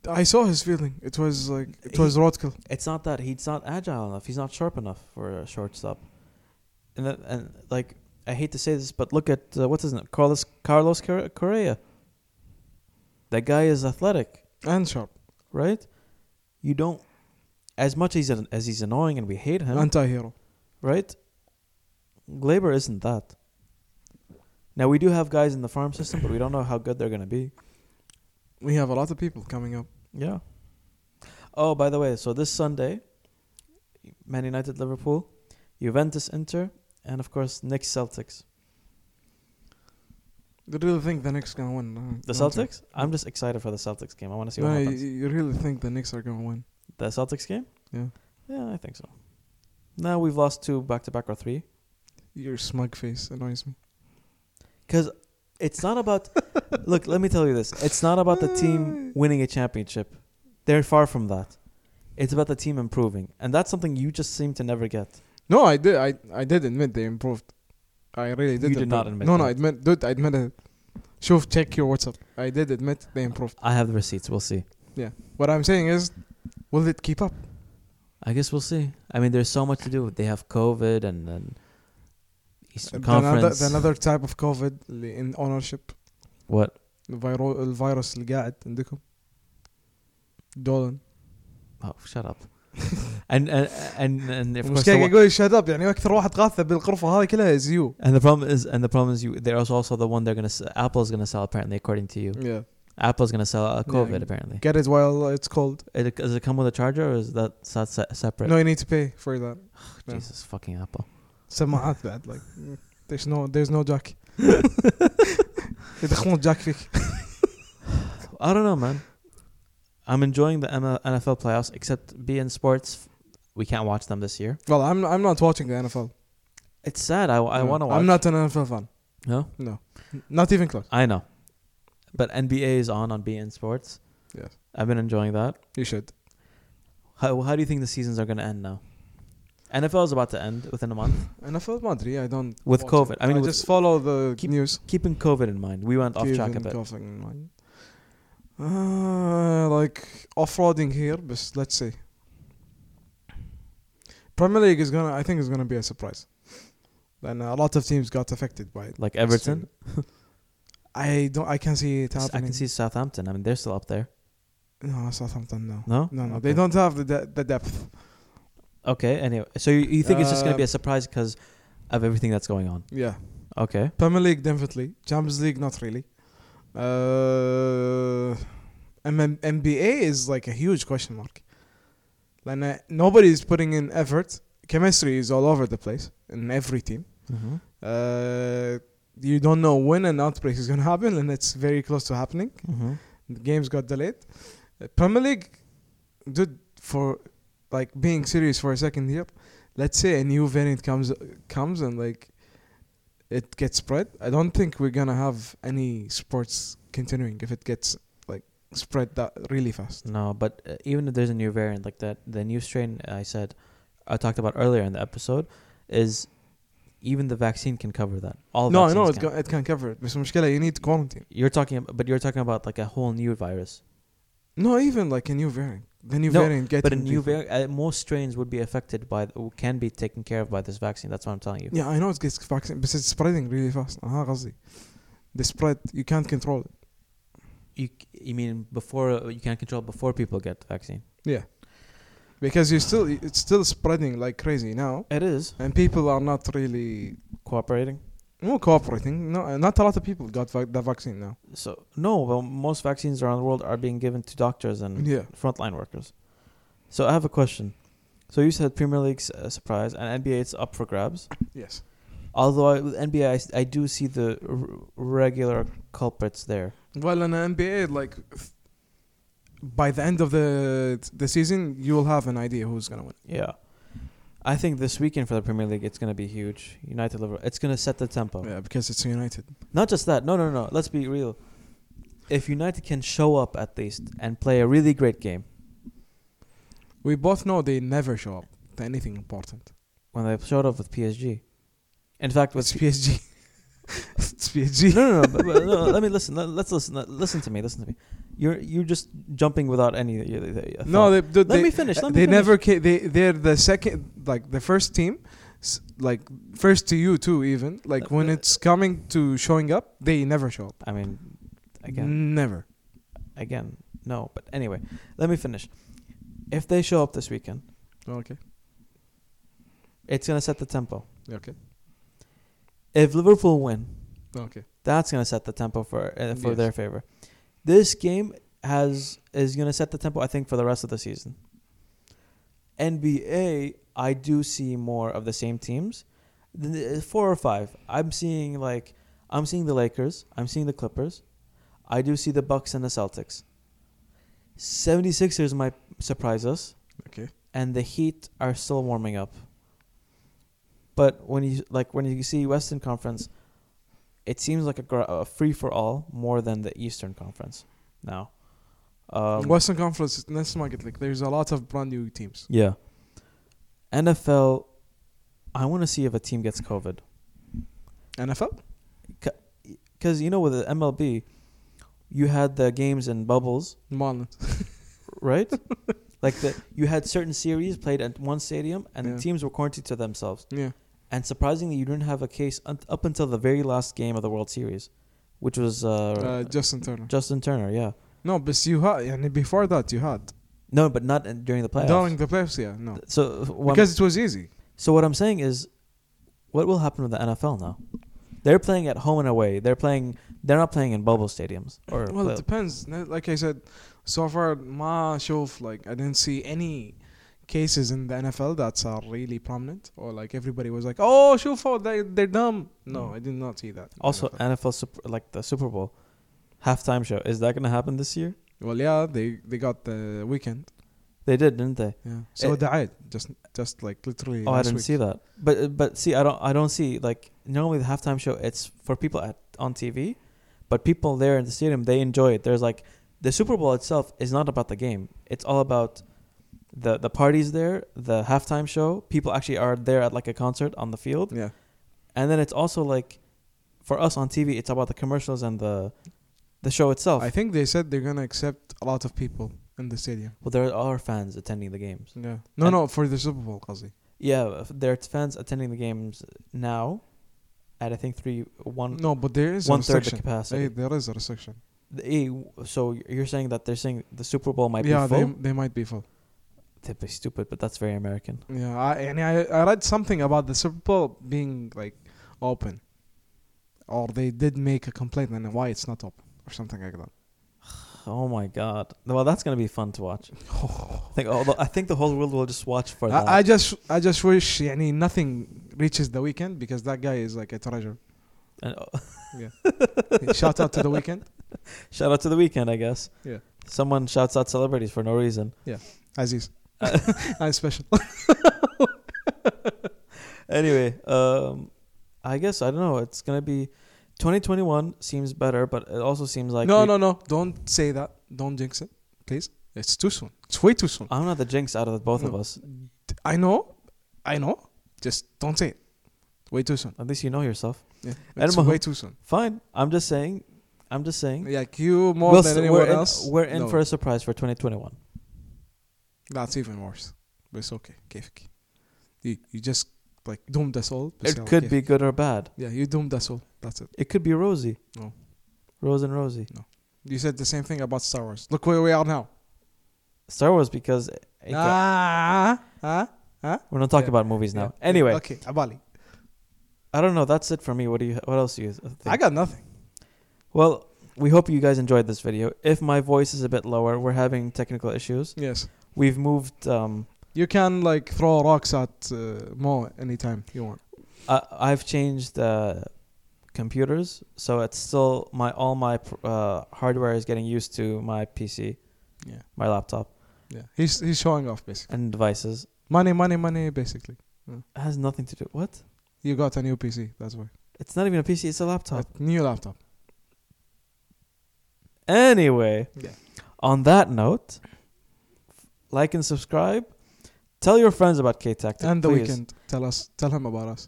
A: I saw his fielding. It was like it was
B: He-
A: Rothkill.
B: It's not that he's not agile enough. He's not sharp enough for a shortstop. And that, and like I hate to say this, but look at uh, what's his name, Carlos Carlos Corre- Correa. That guy is athletic,
A: and sharp,
B: right? You don't, as much as he's, as he's annoying and we hate him,
A: anti-hero.
B: right? Glaber isn't that. Now we do have guys in the farm system, but we don't know how good they're gonna be.
A: We have a lot of people coming up.
B: Yeah. Oh, by the way, so this Sunday, Man United Liverpool, Juventus Inter, and of course Knicks Celtics.
A: You really think the Knicks gonna win? No,
B: The
A: don't you?
B: Celtics? I'm just excited for the Celtics game. I want to see what
A: No, you,
B: happens.
A: you really think the Knicks are gonna win?
B: The Celtics game?
A: Yeah.
B: Yeah, I think so. Now we've lost two back to back or three.
A: Your smug face annoys me.
B: Because it's not about. look, let me tell you this. It's not about the team winning a championship. They're far from that. It's about the team improving. And that's something you just seem to never get.
A: No, I did. I I did admit they improved. I really did.
B: You did not admit
A: No, no,
B: that.
A: I admit. Dude, I admit it. Shoof, check your WhatsApp. I did admit they improved.
B: I have the receipts. We'll see.
A: What I'm saying is, will it keep up?
B: I guess we'll see. I mean, there's so much to do. They have COVID and then Eastern
A: The another-
B: Conference.
A: the another type of COVID اللي in ownership.
B: what?
A: الفيرو الفيروس اللي قاعد عندكم. دولن.
B: Oh, shut up. and and and and of course,
A: مش قاعد
B: the,
A: يقول shut up يعني اكثر واحد غاثة بالغرفة هذه كلها is you.
B: and the problem is and the problem is you. There's also the one they're gonna s- Apple's gonna sell apparently according to you.
A: Yeah.
B: Apple's gonna sell uh,
A: Mm. Yeah,
B: COVID
A: you-
B: apparently.
A: Get it while it's cold.
B: It, does it come with a charger or is that s- that's se- separate?
A: No, you need to pay for that. yeah.
B: Jesus fucking Apple.
A: سماعات بعد like there's no there's no jack. يدخلون جاك فيك.
B: I don't know, man. I'm enjoying the ML NFL playoffs, except BN Sports. We can't watch them this year.
A: Well, I'm I'm not watching the NFL.
B: It's sad. I, Oh, I
A: Yeah.
B: want to watch.
A: I'm not an NFL fan.
B: No.
A: No. Not even close.
B: I know. But NBA is on on BN Sports.
A: Yes.
B: I've been enjoying that.
A: You should.
B: How, how do you think the seasons are going to end now? NFL is about to end within a month.
A: NFL ما ادري I don't
B: With
A: watch
B: COVID.
A: it.
B: I mean,
A: I
B: with-
A: just follow the
B: Keep-
A: news.
B: Keeping COVID in mind, we went off track a
A: Kevin
B: bit.
A: Goff in mind. Uh, like off-roading here, but let's see. Premier League is gonna, I think, is gonna be a surprise. And a lot of teams got affected by it.
B: Like Everton,
A: I don't, I can see it
B: I
A: happening.
B: can see Southampton. I mean, they're still up there.
A: No, Southampton, no,
B: No?
A: no, no.
B: Okay.
A: They don't have the de- the depth.
B: Okay. Anyway, so you, you think it's just going to
A: Uh,
B: be a surprise because of everything that's going on?
A: Yeah,
B: Okay.
A: Premier League definitely. Champions League not really. Uh, MM NBA is like a huge question mark. Like uh, nobody is putting in effort. Chemistry is all over the place in every team.
B: Mm-hmm.
A: Uh, you don't know when an outbreak is going to happen, and it's very close to happening.
B: Mm-hmm.
A: The games got delayed. Uh, Premier League, dude, for like being serious for a second here, let's say a new variant comes comes and like it gets spread. I don't think we're gonna have any sports continuing if it gets like spread that really fast.
B: No, but uh, even if there's a new variant like that, the new strain I said, I talked about earlier in the episode, is even the vaccine can cover that. All
A: No, I know
B: vaccines
A: it
B: can.
A: can, it can cover it. But مشكلة you need quarantine.
B: You're talking, ab- but you're talking about like a whole new virus.
A: No, even like a new variant. The new
B: No,
A: variant getting
B: But a new
A: people.
B: variant, uh, most strains would be affected by, th- can be taken care of by this vaccine. That's what I'm telling you.
A: Yeah, I know it gets vaccine, but it's spreading really fast. Uh-huh, قصدي. The spread you can't control it.
B: You, c- you mean before uh, you can't control before people get the vaccine?
A: Because you still it's still spreading like crazy now.
B: It is
A: And people are not really
B: cooperating.
A: no cooperating. No, not a lot of people got vac- the vaccine now.
B: So no, well, most vaccines around the world are being given to doctors and
A: Yeah.
B: frontline workers. So I have a question. So you said Premier League's a surprise and NBA it's up for grabs.
A: Yes.
B: Although I, with NBA I s- I, do see the r- regular culprits there.
A: Well, in the NBA, like f- by the end of the the season, you will have an idea who's gonna win.
B: Yeah. I think this weekend for the Premier League it's going to be huge. United Liverpool it's going to set the tempo.
A: Yeah, because it's United.
B: Not just that. No, no, no. Let's be real. If United can show up at least and play a really great game
A: We both know they never show up to anything important.
B: when they showed up with PSG. In fact, with
A: It's PSG. it's PSG.
B: no, no, no, but, but no. Let me listen. Let, let's listen. Let, listen to me. Listen to me. You're you're just jumping without any. uh, uh,
A: No,
B: thought.
A: they, they,
B: let
A: they,
B: me finish. Let me
A: they
B: finish.
A: never. Ca- they they're the second, like the first team, s- like first to you too. Even like when it's coming to showing up, they never show up.
B: I mean, again,
A: never.
B: again, no. But anyway, let me finish. If they show up this weekend,
A: Okay.
B: it's gonna set the tempo.
A: Okay.
B: If Liverpool win,
A: Okay.
B: that's gonna set the tempo for uh, for
A: Yes.
B: their favor. This game has is gonna set the tempo. I think for the rest of the season. NBA, I do see more of the same teams, Th- th- four or five. I'm seeing like I'm seeing the Lakers. I'm seeing the Clippers. I do see the Bucks and the Celtics. 76ers might surprise us.
A: Okay.
B: And the Heat are still warming up. But when you like when you see Western Conference, it seems like a, gr- a free for all more than the Eastern Conference now. Um,
A: Western Conference next market like there's a lot of brand new teams.
B: yeah. NFL, I want to see if a team gets COVID.
A: NFL?
B: Because, you know, with the MLB, you had the games in bubbles,
A: Marlins.
B: right? like, the, you had certain series played at one stadium, and
A: Yeah.
B: the teams were quarantined to themselves.
A: Yeah.
B: And surprisingly, you didn't have a case un- up until the very last game of the World Series, which was uh,
A: Uh, Justin Turner.
B: Justin Turner, yeah.
A: no, but you had and before that you had.
B: No, but not in, during the playoffs.
A: During the playoffs, yeah, no.
B: so, what I'm-
A: Because it was easy.
B: so, what I'm saying is, what will happen with the NFL now? They're playing at home and away. They're playing. They're not playing in bubble stadiums. Or
A: Well,
B: play-
A: it depends. N- Like I said, so far my show like I didn't see any cases in the NFL that are really prominent or like everybody was like, "Oh, Shufo, they they're dumb." No,
B: Mm.
A: I did not see that. in
B: Also,
A: NFL.
B: NFL, Sup- like the Super Bowl halftime show, is that going to happen this year?
A: well, yeah, they they got the weekend.
B: They did, didn't they?
A: Yeah. So
B: Eh.
A: died just just like literally
B: oh, I
A: last
B: didn't
A: week.
B: see that. But uh, but see, I don't I don't see like normally the halftime show it's for people at on TV, but people there in the stadium they enjoy it. There's like the Super Bowl itself is not about the game. It's all about the the parties there, the halftime show. People actually are there at like a concert on the field,
A: Yeah.
B: and then it's also like for us on TV, it's about the commercials and the the show itself.
A: I think they said they're gonna accept a lot of people in the stadium.
B: well, there are fans attending the games.
A: Yeah. No,
B: And-
A: no, for the Super Bowl, Qazi.
B: Yeah, f- there are fans attending the games now, at I think three one
A: No, but there is a
B: one third the
A: restriction.
B: capacity.
A: Hey, there is a restriction.
B: The- eh, w- so you're saying that they're saying the Super Bowl might
A: yeah,
B: be full?
A: they they might be full.
B: That'd be stupid, but that's very American.
A: Yeah, I and I I read something about the Super Bowl being like open. or they did make a complaint and why it's not up or something like that.
B: Oh my god! Well, that's gonna be fun to watch. I think. Although I think the whole world will just watch for that.
A: I, I just I just wish يعني nothing reaches the weekend because that guy is like a treasure.
B: And, oh,
A: Shout out to the weekend.
B: shout out to the weekend, I guess.
A: Yeah.
B: Someone shouts out celebrities for no reason.
A: Aziz. I'm special.
B: Anyway, um, I guess I don't know. It's gonna be 2021 seems better, but it also seems like
A: no,
B: we-
A: no, no. Don't say that. Don't jinx it, please. It's too soon. It's way too soon.
B: I'm not the jinx out of the both of
A: No.
B: us.
A: I know. I know. Just don't say it. Way too soon.
B: At least you know yourself.
A: Yeah. It's
B: Edmond.
A: way too soon.
B: Fine. I'm just saying. I'm just saying.
A: Like you more
B: We'll
A: than
B: s-
A: anyone
B: we're
A: else.
B: In, we're in
A: no,
B: for a surprise for 2021.
A: That's even worse. But it's okay. كيفك. You, you just like doomed us all. بس
B: It
A: يلا
B: could be
A: كيفك.
B: good or bad.
A: Yeah, you doomed us all. That's it.
B: It could be rosy.
A: No.
B: Rose and Rosie.
A: You said the same thing about Star Wars. Look where we are now.
B: Star Wars because eh, it got-
A: Ah, ah,
B: we're not talking
A: yeah,
B: about movies now.
A: yeah.
B: Anyway,
A: Okay, ah, Abali.
B: I don't know. That's it for me. What do you? What else do you think?
A: I got nothing.
B: well, we hope you guys enjoyed this video. If my voice is a bit lower, we're having technical issues.
A: Yes.
B: We've moved. Um,
A: You can like throw rocks at uh, Mo anytime you want.
B: I, I've changed uh, computers, so it's still my all my pr- uh, hardware is getting used to my PC,
A: Yeah.
B: my laptop,
A: Yeah. He's he's showing off basically.
B: and devices.
A: Money, money, money. Basically,
B: It has nothing to do. What?
A: you got a new PC. That's why.
B: It's not even a PC. It's a laptop.
A: A new laptop.
B: Anyway,
A: Yeah.
B: on that note, like and subscribe. Tell your friends about K Tactic.
A: And the
B: please.
A: weekend. Tell us. Tell him about us.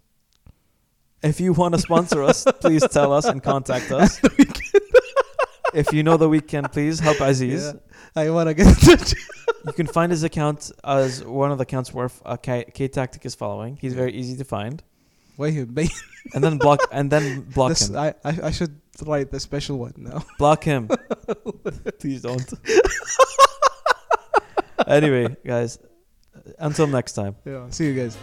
B: If you want to sponsor us, please tell us and contact us. if you know the weekend, please help Aziz.
A: Yeah. I wanna get in touch.
B: You can find his account as one of the accounts where uh, K Tactic is following. He's very easy to find.
A: Wait, you ba-
B: And then block and then block
A: this,
B: him.
A: I, I I should write the special one now.
B: block him. please don't. anyway, guys, until next time.
A: Yeah. See you guys.